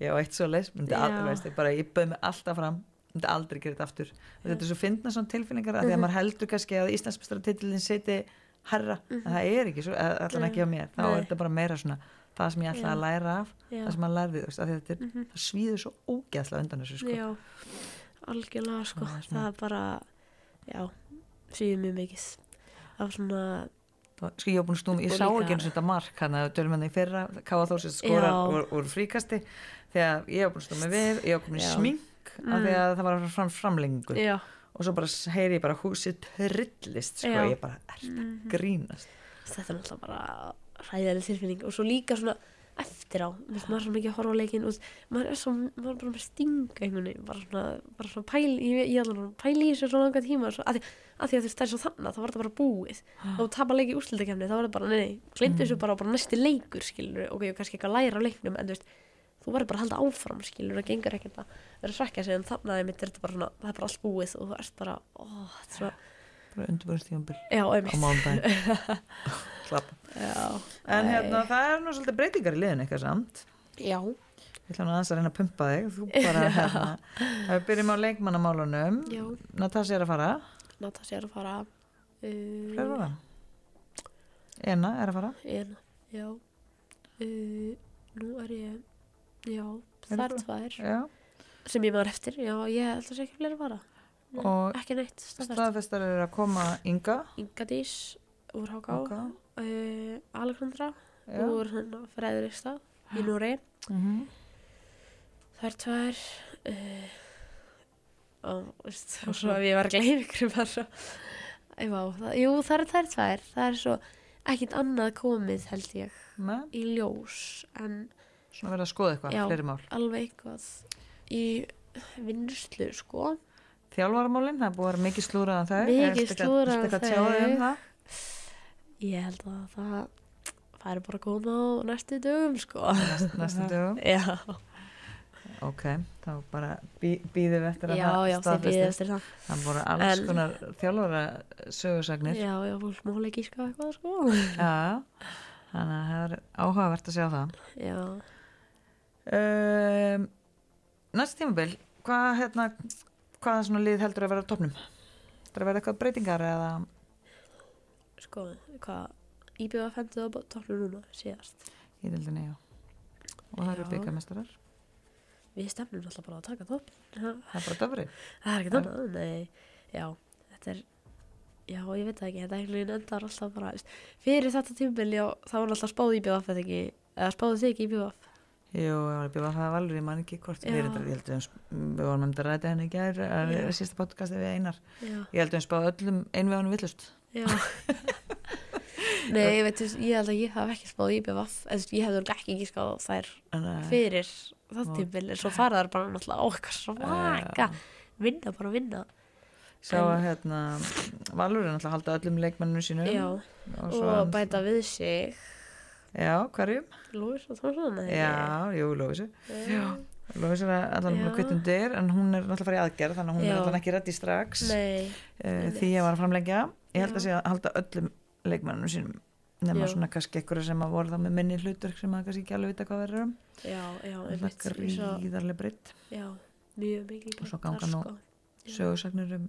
[SPEAKER 1] ég á eitt svo leys myndi
[SPEAKER 2] Já.
[SPEAKER 1] aldrei, veist, ég, bara, ég bauð mig alltaf fram myndi aldrei gera þetta aftur og þetta er svo fyndna svona tilfinningar að því
[SPEAKER 2] Mhm.
[SPEAKER 1] að maður heldur kannski að Íslandsbestaratitlinn siti herra, en það er ekki svo, að- allan ekki á mér þá er
[SPEAKER 2] Mhm. Nei.
[SPEAKER 1] þetta bara meira svona það sem ég ætla að læra af,
[SPEAKER 2] já.
[SPEAKER 1] það sem maður lærði þú veist, af því að þetta er,
[SPEAKER 2] Mhm.
[SPEAKER 1] það svíður svo ógeðslega undan þessu sko.
[SPEAKER 2] Já, algjörlega sko,
[SPEAKER 1] Það
[SPEAKER 2] það
[SPEAKER 1] er
[SPEAKER 2] er,
[SPEAKER 1] svona-
[SPEAKER 2] bara, já, síðan mjög mikið. Það var svona,
[SPEAKER 1] Það- Sko, ég, var búin að snúa- ég
[SPEAKER 2] Og
[SPEAKER 1] sá
[SPEAKER 2] líka-
[SPEAKER 1] ekki eins og þetta mark hann að tölum henni í fyrra, Káa Þórsins skorar
[SPEAKER 2] Já.
[SPEAKER 1] úr, úr fríkasti þegar ég var búin að stóma við, ég var komin í
[SPEAKER 2] Já. Mm.
[SPEAKER 1] smink af því að það var fram, framlengu
[SPEAKER 2] já,
[SPEAKER 1] og svo bara s- heyri ég bara húsið trillist sko,
[SPEAKER 2] Já.
[SPEAKER 1] ég bara er að grínast
[SPEAKER 2] þetta er náttúrulega bara hræðileg tilfinning og svo líka svona eftir á, þú veist, maður er svo mikið að horfa á leikinn og maður er svo, maður er bara með stinga einhvern veginn, bara svona, bara svona pæl, ég, ég alveg svona pæl í þessu svo langa tíma, svo, að, því, að því að þú veist, það er svo þannig, þá var þetta bara búið, þá tapar leik í úrslutakefni, þá var þetta bara, nei, nei, glemdu
[SPEAKER 1] Mm.
[SPEAKER 2] þessu bara og bara næsti leikur, skilur, ok, ég er kannski eitthvað að læra á leiknum, en þú veist, þú verður bara að halda áfram, skilur, það gengur ekkert að vera að svekja sig, en þannig að mitt er þetta bara svona, það er bara allt búið og þú ert bara, ó, þetta er svo,
[SPEAKER 1] bara undirbúrstíðanbíl
[SPEAKER 2] já,
[SPEAKER 1] á
[SPEAKER 2] einmitt
[SPEAKER 1] mánudaginn Klappa.
[SPEAKER 2] já,
[SPEAKER 1] en
[SPEAKER 2] Nei.
[SPEAKER 1] hérna það er nú svolítið breytingar í liðin eitthvað samt
[SPEAKER 2] Eh, já,
[SPEAKER 1] ég ætla nú aðeins að reyna að pumpa þig þú bara hérna ef við byrjum á leikmannamálunum
[SPEAKER 2] já
[SPEAKER 1] Natasja er að fara
[SPEAKER 2] Natasja er að fara
[SPEAKER 1] hver
[SPEAKER 2] uh,
[SPEAKER 1] var það? Ena er að fara
[SPEAKER 2] Um, en, já uh, nú er ég já, það
[SPEAKER 1] þú-
[SPEAKER 2] er tvær
[SPEAKER 1] já
[SPEAKER 2] sem ég maður eftir, já, ég held að sé ekki fleiri að fara Nei,
[SPEAKER 1] Og-
[SPEAKER 2] ekki neitt, staðfært
[SPEAKER 1] staðfestar eru að koma Inga
[SPEAKER 2] Inga Dís úr HK
[SPEAKER 1] Inga,
[SPEAKER 2] uh, Alexandra
[SPEAKER 1] já.
[SPEAKER 2] úr Freðuristad í Núri
[SPEAKER 1] Mhm.
[SPEAKER 2] það er tvær uh, og, veist, og svo ef ég var að gleyma ykkur bara Æ, vá, það, jú, það er tvær tvær það er svo ekkit annað komið held ég
[SPEAKER 1] Nei,
[SPEAKER 2] í ljós en
[SPEAKER 1] svona verið að skoða eitthvað,
[SPEAKER 2] Já.
[SPEAKER 1] fleiri mál
[SPEAKER 2] alveg eitthvað í vinslu sko
[SPEAKER 1] Þjálfaramálin, það er búið að vera mikið slúrað að þau
[SPEAKER 2] Mikið
[SPEAKER 1] Er eitthvað-
[SPEAKER 2] slúðrað
[SPEAKER 1] ertu
[SPEAKER 2] um
[SPEAKER 1] eitthvað að tjá þig um
[SPEAKER 2] þau.
[SPEAKER 1] það?
[SPEAKER 2] ég held að það það er bara að koma á næstu dögum sko
[SPEAKER 1] Næst- næstu dögum
[SPEAKER 2] já,
[SPEAKER 1] ok, þá bara bí, býðum við eftir að
[SPEAKER 2] já, já, þið býðið
[SPEAKER 1] staðfestist
[SPEAKER 2] eftir það
[SPEAKER 1] það voru alls
[SPEAKER 2] En-
[SPEAKER 1] konar þjálfara sögursagnir
[SPEAKER 2] já, já, fólk má leik íska eitthvað sko
[SPEAKER 1] ja. þannig að það er áhugavert að sjá það
[SPEAKER 2] já,
[SPEAKER 1] um, næst tímabil hvað hérna hvaða svona lið heldur að vera á topnum það er að vera eitthvað breytingar eða
[SPEAKER 2] sko, hvað íbjöða fendið á topplu núna síðast
[SPEAKER 1] í dildinni já og það eru
[SPEAKER 2] Já.
[SPEAKER 1] byggamestrar,
[SPEAKER 2] við stefnum alltaf bara á að taka topp það
[SPEAKER 1] það er bara döfri
[SPEAKER 2] er ekki
[SPEAKER 1] Já.
[SPEAKER 2] annað, nei já, þetta er já, ég veit það ekki, þetta einhvern veginn endar alltaf bara fyrir þetta tímbil, já, þá var alltaf spáð íbjöða eða ekki, eða spáðu þig ekki íbjöða
[SPEAKER 1] Jú, ég var að bjóða það valur, ég man ekki hvort
[SPEAKER 2] Já.
[SPEAKER 1] við erum þetta, ég held um, við vorum um þetta ræti henni í gær, að
[SPEAKER 2] Já.
[SPEAKER 1] við sísta podcasti við Einar,
[SPEAKER 2] já
[SPEAKER 1] ég held um spáð öllum einvegunum villust.
[SPEAKER 2] Já Nei, ég veit, þú veist, ég held að ég haf ekki spáð í BVF en þú veist, ég hefði örugglega ekki gískað á þær
[SPEAKER 1] Fyrir
[SPEAKER 2] fyrir það
[SPEAKER 1] Vá.
[SPEAKER 2] tímbil en svo fara þær bara náttúrulega á eitthvað svaka vinna, bara vinna
[SPEAKER 1] eh, Sá að hérna, valur er náttúrulega að halda öllum leikmenninu sínum.
[SPEAKER 2] Já,
[SPEAKER 1] Og,
[SPEAKER 2] og
[SPEAKER 1] svo hann-
[SPEAKER 2] bæta við sig
[SPEAKER 1] Já, hverjum?
[SPEAKER 2] Lúis og Thompson um eða ekki?
[SPEAKER 1] Já, jú, Lófísu.
[SPEAKER 2] Já,
[SPEAKER 1] Lófísu er allan
[SPEAKER 2] Já.
[SPEAKER 1] með kvittundir, en hún er náttúrulega að fara í aðgerð, þannig að hún
[SPEAKER 2] Já.
[SPEAKER 1] er allan ekki reddi strax.
[SPEAKER 2] Nei,
[SPEAKER 1] Uh,
[SPEAKER 2] einmitt.
[SPEAKER 1] því ég var að framleggja. Ég held
[SPEAKER 2] Já.
[SPEAKER 1] að sé að halda öllum leikmenninu sínum. Nefna
[SPEAKER 2] Já.
[SPEAKER 1] svona kannski ekkur sem að voru þá með minni hlutur sem að kannski ekki alveg vita hvað verður um.
[SPEAKER 2] já, já,
[SPEAKER 1] Það
[SPEAKER 2] einmitt eins og-
[SPEAKER 1] gríðarlega breytt
[SPEAKER 2] Já, mjög
[SPEAKER 1] Og
[SPEAKER 2] mikið
[SPEAKER 1] svo
[SPEAKER 2] bætt þar,
[SPEAKER 1] ganga nú-
[SPEAKER 2] sko. Já.
[SPEAKER 1] sögursagnir um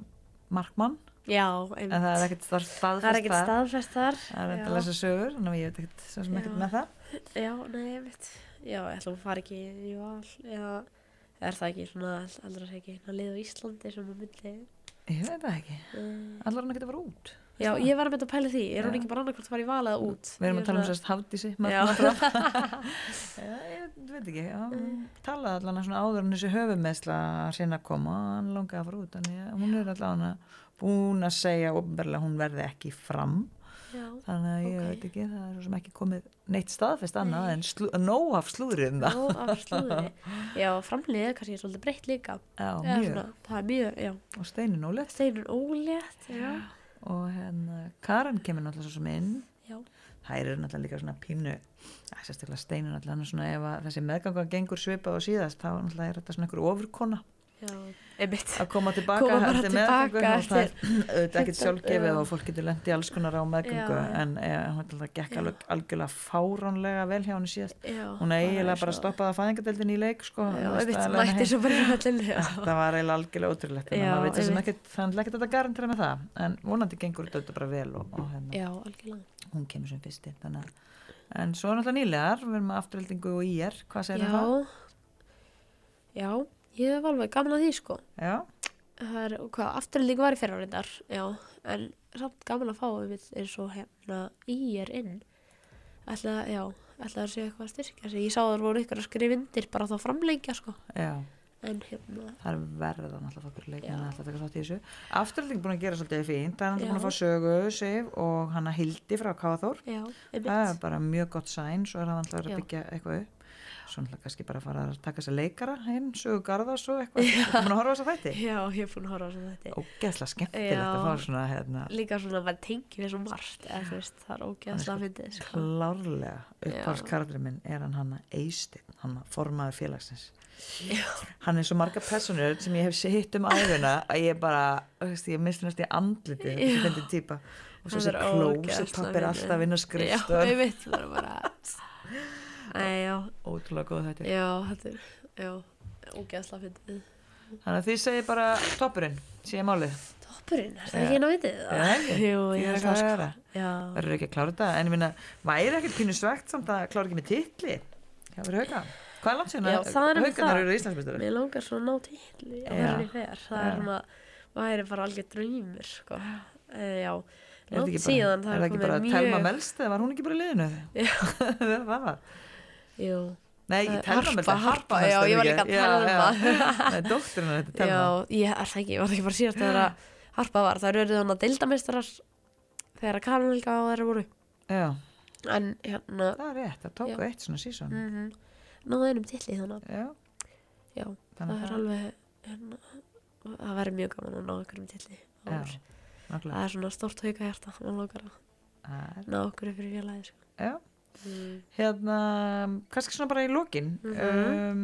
[SPEAKER 1] markmann
[SPEAKER 2] Já,
[SPEAKER 1] en það
[SPEAKER 2] einmitt
[SPEAKER 1] er ekkert stað- staðfest
[SPEAKER 2] Það er ekkert staðfest þar
[SPEAKER 1] það er ekkert að
[SPEAKER 2] Já.
[SPEAKER 1] lesa sögur þannig að ég veit ekkert svo sem ekkert
[SPEAKER 2] Já.
[SPEAKER 1] með það
[SPEAKER 2] Já, nei, ég veit. Já, ég ætla að fara ekki í val. Já, er það ekki svona, aldrei sé ekki, hérna lið á Íslandi sem að myndi.
[SPEAKER 1] ég veit það ekki,
[SPEAKER 2] Uh,
[SPEAKER 1] allar hann ekkert að fara út
[SPEAKER 2] já, ég var að mynda að pæla því. Er hún
[SPEAKER 1] Já.
[SPEAKER 2] ekki bara annarkvæmt að fara í val eða út?
[SPEAKER 1] við erum
[SPEAKER 2] Ég
[SPEAKER 1] að tala um
[SPEAKER 2] svona-
[SPEAKER 1] sérst hafdísi
[SPEAKER 2] Já.
[SPEAKER 1] Já, ég veit ekki, já,
[SPEAKER 2] Mm.
[SPEAKER 1] hún talaði allan svona áður en þessi höfumeðsla sinna að koma, hann langaði að fara út þannig að hún er allan búin að segja ofnverðilega hún verði ekki fram
[SPEAKER 2] Já,
[SPEAKER 1] þannig að ég
[SPEAKER 2] Ok.
[SPEAKER 1] veit ekki, það er svo sem ekki komið neitt staðfest annað
[SPEAKER 2] Nei.
[SPEAKER 1] en slú, nóg af slúðrið um það
[SPEAKER 2] já, af slúðinni. Já, framliðið er kannski svolítið breytt líka.
[SPEAKER 1] Já,
[SPEAKER 2] Eða
[SPEAKER 1] mjög,
[SPEAKER 2] svona, Það er mjög, já.
[SPEAKER 1] og Steinin Óli
[SPEAKER 2] Steinur ólétt, já.
[SPEAKER 1] og hérna Karin kemur náttúrulega svo sem inn
[SPEAKER 2] Já,
[SPEAKER 1] þær eru náttúrulega líka svona pínu að sérstaklega steinu náttúrulega hann er svona ef að þessi meðganga gengur svipað og síðast þá náttúrulega er þetta svona einhver ofurkona
[SPEAKER 2] já. Einmitt.
[SPEAKER 1] að koma tilbaka
[SPEAKER 2] Koma bara
[SPEAKER 1] eftir
[SPEAKER 2] tilbaka
[SPEAKER 1] meðgöngu og það er
[SPEAKER 2] eftir-
[SPEAKER 1] auðvitað ekkert
[SPEAKER 2] Þetta-
[SPEAKER 1] sjálfgefið
[SPEAKER 2] já.
[SPEAKER 1] og fólk getur lendi alls konar á meðgöngu
[SPEAKER 2] Já, já.
[SPEAKER 1] en e, hún náttúrulega gekk
[SPEAKER 2] Já.
[SPEAKER 1] alveg, algjörlega fáránlega vel hjá henni síðast
[SPEAKER 2] Já.
[SPEAKER 1] hún eiginlega
[SPEAKER 2] eins
[SPEAKER 1] bara
[SPEAKER 2] og-
[SPEAKER 1] stoppaði að fæðingadeldin í leik sko,
[SPEAKER 2] Já,
[SPEAKER 1] þú veist,
[SPEAKER 2] einmitt,
[SPEAKER 1] að leiðina
[SPEAKER 2] mætti
[SPEAKER 1] heim.
[SPEAKER 2] svo bara í vallinu, já.
[SPEAKER 1] Þetta var eiginlega algjörlega ótrúlegt þannig
[SPEAKER 2] Já,
[SPEAKER 1] að maður veit svo sem
[SPEAKER 2] einmitt.
[SPEAKER 1] ekkert þannig að ekkert þetta garantera með það en vonandi gengur þetta bara vel og, og hérna,
[SPEAKER 2] Já, algjörlega.
[SPEAKER 1] hún kemur sem fyrst inn þannig að en svo er náttúrulega nýlegar við erum með afturhildingu og ír hvað segir
[SPEAKER 2] já.
[SPEAKER 1] það?
[SPEAKER 2] Já, ég hef alveg gaman að því sko.
[SPEAKER 1] Já,
[SPEAKER 2] Það er, og hvað, afturlík var í fyrra reyndar, já, en samt gaman að fá um eins og hérna í er inn. Ætla, já, ætla að sé eitthvað að styrkja sig. Ég sá að það voru ykkur að skrifa undir bara þá framlengja sko.
[SPEAKER 1] já,
[SPEAKER 2] En hérna,
[SPEAKER 1] það er verða náttúrulega fokkur leikin
[SPEAKER 2] Já.
[SPEAKER 1] alltaf taka þátt í þessu afturhilding búin að gera svolítið fínt það er
[SPEAKER 2] Já.
[SPEAKER 1] náttúrulega búin að fá sögu, Sif og hana Hildi frá Káþór
[SPEAKER 2] já,
[SPEAKER 1] það
[SPEAKER 2] einmitt.
[SPEAKER 1] er bara mjög gott sæn svo er það náttúrulega verið
[SPEAKER 2] Já.
[SPEAKER 1] að byggja eitthvað upp svo náttúrulega kannski bara að fara að taka sér leikara hinn, sögu Garðars og eitthvað þú erum að horfa þess að þætti
[SPEAKER 2] Já, ég hef búin að horfa á þess að þetta.
[SPEAKER 1] ógeðslega skemmtilegt að
[SPEAKER 2] Já.
[SPEAKER 1] fá svona hérna,
[SPEAKER 2] Líka svona að maður tengi við svo margt, eða þú veist, það er ógeðslega myndið sko.
[SPEAKER 1] klárlega upphaldskarðurinn minn er hann hanna Eistin, hann formaður félagsins hann er svo marga personur sem ég hef hitt um æfina að ég bara, þú veist, ég misti næst í andliti þetta er fyndin típa og svo
[SPEAKER 2] Hann
[SPEAKER 1] sér
[SPEAKER 2] er
[SPEAKER 1] klósett
[SPEAKER 2] ógeðslega
[SPEAKER 1] pappi er
[SPEAKER 2] fyndinn.
[SPEAKER 1] alltaf að vinna
[SPEAKER 2] já,
[SPEAKER 1] skrift
[SPEAKER 2] ég veit það er bara Æ, já,
[SPEAKER 1] ótrúlega góð þetta
[SPEAKER 2] já, þetta er já, ógeðsla fyndið
[SPEAKER 1] þannig að því segir bara toppurinn sé málið,
[SPEAKER 2] toppurinn, er það
[SPEAKER 1] Já.
[SPEAKER 2] ekki einu vitið?
[SPEAKER 1] Já, ekki.
[SPEAKER 2] Ah, Jú,
[SPEAKER 1] Því
[SPEAKER 2] ég
[SPEAKER 1] er
[SPEAKER 2] held
[SPEAKER 1] eitthvað
[SPEAKER 2] það
[SPEAKER 1] að
[SPEAKER 2] sko
[SPEAKER 1] vera.
[SPEAKER 2] já,
[SPEAKER 1] verður ekki að klára þetta en ég minna, væri ekkert kynu svegt samt að klára ekki með titli það verður hauka, hvað er langt síðan
[SPEAKER 2] Já,
[SPEAKER 1] að-
[SPEAKER 2] það er einmitt
[SPEAKER 1] Haukarnir
[SPEAKER 2] það.
[SPEAKER 1] eru Íslandsmeistari
[SPEAKER 2] mér langar svo að ná titli á
[SPEAKER 1] Já.
[SPEAKER 2] hvernig fer það
[SPEAKER 1] Já.
[SPEAKER 2] er svona, væri bara algjör drýmir sko, e, já
[SPEAKER 1] Er þetta
[SPEAKER 2] langt
[SPEAKER 1] ekki bara-
[SPEAKER 2] síðan
[SPEAKER 1] er
[SPEAKER 2] það
[SPEAKER 1] það
[SPEAKER 2] er
[SPEAKER 1] ekki bara
[SPEAKER 2] komið
[SPEAKER 1] Telma
[SPEAKER 2] mjög
[SPEAKER 1] Melsteð, var hún ekki bara í liðinu?
[SPEAKER 2] Já.
[SPEAKER 1] það var
[SPEAKER 2] jú,
[SPEAKER 1] Nei,
[SPEAKER 2] Það
[SPEAKER 1] ég
[SPEAKER 2] er
[SPEAKER 1] telma með
[SPEAKER 2] Harpa,
[SPEAKER 1] þetta
[SPEAKER 2] Harpa, já,
[SPEAKER 1] næstu
[SPEAKER 2] ég var líka
[SPEAKER 1] helgi.
[SPEAKER 2] að um
[SPEAKER 1] Já,
[SPEAKER 2] telma.
[SPEAKER 1] já. Nei, dótturinn er þetta
[SPEAKER 2] já,
[SPEAKER 1] telma
[SPEAKER 2] ég er það ekki, var það ekki bara síðast þegar að harpa var, það eru þannig að deildameistarar þegar að Karmelga og þeirra voru
[SPEAKER 1] Já,
[SPEAKER 2] en hérna
[SPEAKER 1] það er rétt, það tóku eitt svona sísón
[SPEAKER 2] mm náðu einum titli þannig að
[SPEAKER 1] Já,
[SPEAKER 2] já, það
[SPEAKER 1] þannig
[SPEAKER 2] er
[SPEAKER 1] að
[SPEAKER 2] alveg hérna, það verður mjög gaman að ná einhverjum titli á
[SPEAKER 1] Já,
[SPEAKER 2] ár.
[SPEAKER 1] nákvæmlega.
[SPEAKER 2] það er svona stórt hauka hjarta mann lókar að
[SPEAKER 1] Það er-
[SPEAKER 2] ná okkur fyrir félagi sko.
[SPEAKER 1] Já,
[SPEAKER 2] mm.
[SPEAKER 1] hérna, kannski svona bara í lokin
[SPEAKER 2] Mhm.
[SPEAKER 1] um,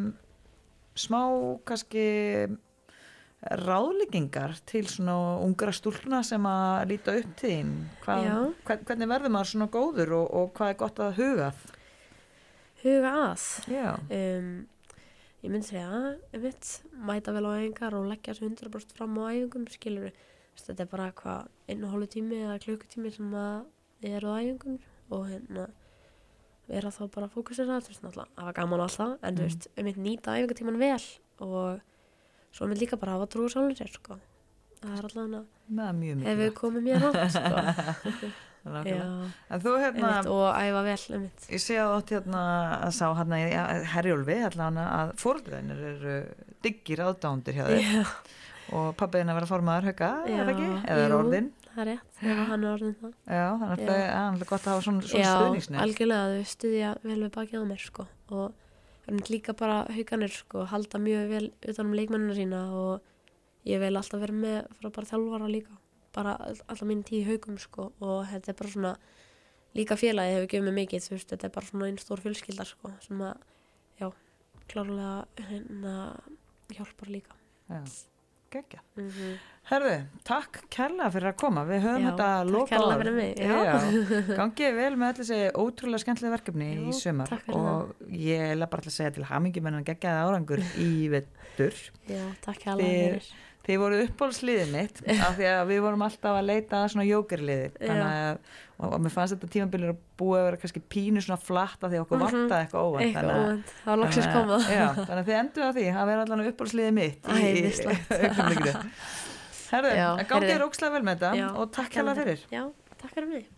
[SPEAKER 1] Smá, kannski ráðleggingar til svona ungra stúlna sem að líta upp til þín Hvað,
[SPEAKER 2] Já.
[SPEAKER 1] hvern- hvernig verður maður svona góður og, og hvað er gott að hugað
[SPEAKER 2] huga að
[SPEAKER 1] Já,
[SPEAKER 2] um, ég myndi segja einmitt, mæta vel á æfingar og leggja þessu 100% fram á æfingum skilur þetta er bara hvað einu hólu tími eða klukkutími sem að þið eru á æfingum og hérna vera þá bara fókusera þú veist náttúrulega, hafa gaman á alltaf en þú
[SPEAKER 1] Mhm.
[SPEAKER 2] veist, einmitt nýta æfingatíman vel og svo einmitt líka bara hafa trú á sjálfum sér sko það er allavega
[SPEAKER 1] það er mjög
[SPEAKER 2] hefur
[SPEAKER 1] mikilvægt
[SPEAKER 2] komið mér rátt sko.
[SPEAKER 1] nákvæmlega.
[SPEAKER 2] Já,
[SPEAKER 1] En þú hérna
[SPEAKER 2] einmitt, og æfa vel einmitt.
[SPEAKER 1] Ég sé að þú átt hérna að sá hérna í Herjólfi allan að fórðrænir eru diggir aðdándir hjá þér
[SPEAKER 2] Já,
[SPEAKER 1] og pappiðin að vera formaður hauka, er það ekki?
[SPEAKER 2] Já,
[SPEAKER 1] Eða er
[SPEAKER 2] jú.
[SPEAKER 1] orðin?
[SPEAKER 2] það er rétt, ef hann er orðin það
[SPEAKER 1] Já, þannig að
[SPEAKER 2] Já.
[SPEAKER 1] það er alveg gott að hafa svona, svona
[SPEAKER 2] Já,
[SPEAKER 1] stuðningsnir.
[SPEAKER 2] algjörlega, þau stuðja vel við bakið á mér sko. og einmitt líka bara hauganir sko, halda mjög vel utan um leikmennina sína og ég vil alltaf vera með frá bara þjálfara líka bara all- alla mín tíu haugum sko, og þetta er bara svona líka félagi hefur gefið mér mikið, þú veist, þetta er bara svona einn stór fjölskylda sko, sem að, já, klárlega hérna, hjálpar líka
[SPEAKER 1] Já, geggja.
[SPEAKER 2] mm
[SPEAKER 1] Mhm. Herðu, takk kærlega fyrir að koma. Við höfum
[SPEAKER 2] Já,
[SPEAKER 1] þetta
[SPEAKER 2] takk
[SPEAKER 1] loka
[SPEAKER 2] kærlega fyrir mig, já.
[SPEAKER 1] Já, gangið vel með allir þessi ótrúlega skemmtilega verkefni
[SPEAKER 2] Jú,
[SPEAKER 1] í sumar
[SPEAKER 2] takk fyrir
[SPEAKER 1] og ég er bara alltaf að segja til hamingi menn að geggjaði árangur í vettur.
[SPEAKER 2] Já, takk hérlega
[SPEAKER 1] Þið-
[SPEAKER 2] fyrir.
[SPEAKER 1] Þið voru uppbólsliðið mitt af því að við vorum alltaf að leita að svona jókerliði
[SPEAKER 2] Já.
[SPEAKER 1] þannig að og, og mér fannst þetta tímabilið að búið að vera kannski pínu svona flatt af því að okkur
[SPEAKER 2] Mhm.
[SPEAKER 1] vantaði eitthvað óvænt
[SPEAKER 2] Eitthvað
[SPEAKER 1] þannig að-
[SPEAKER 2] óvænt, það var loksins
[SPEAKER 1] þannig að-
[SPEAKER 2] komað.
[SPEAKER 1] já, þannig að þið endur á því að vera allan uppbólsliðið mitt í- í-
[SPEAKER 2] Æðislegt.
[SPEAKER 1] augnablikinu. Herðu,
[SPEAKER 2] Já,
[SPEAKER 1] að gangi
[SPEAKER 2] heyrðu.
[SPEAKER 1] er ókslega vel með þetta
[SPEAKER 2] Já,
[SPEAKER 1] og takk hérlega fyrir
[SPEAKER 2] Já, takk fyrir mig.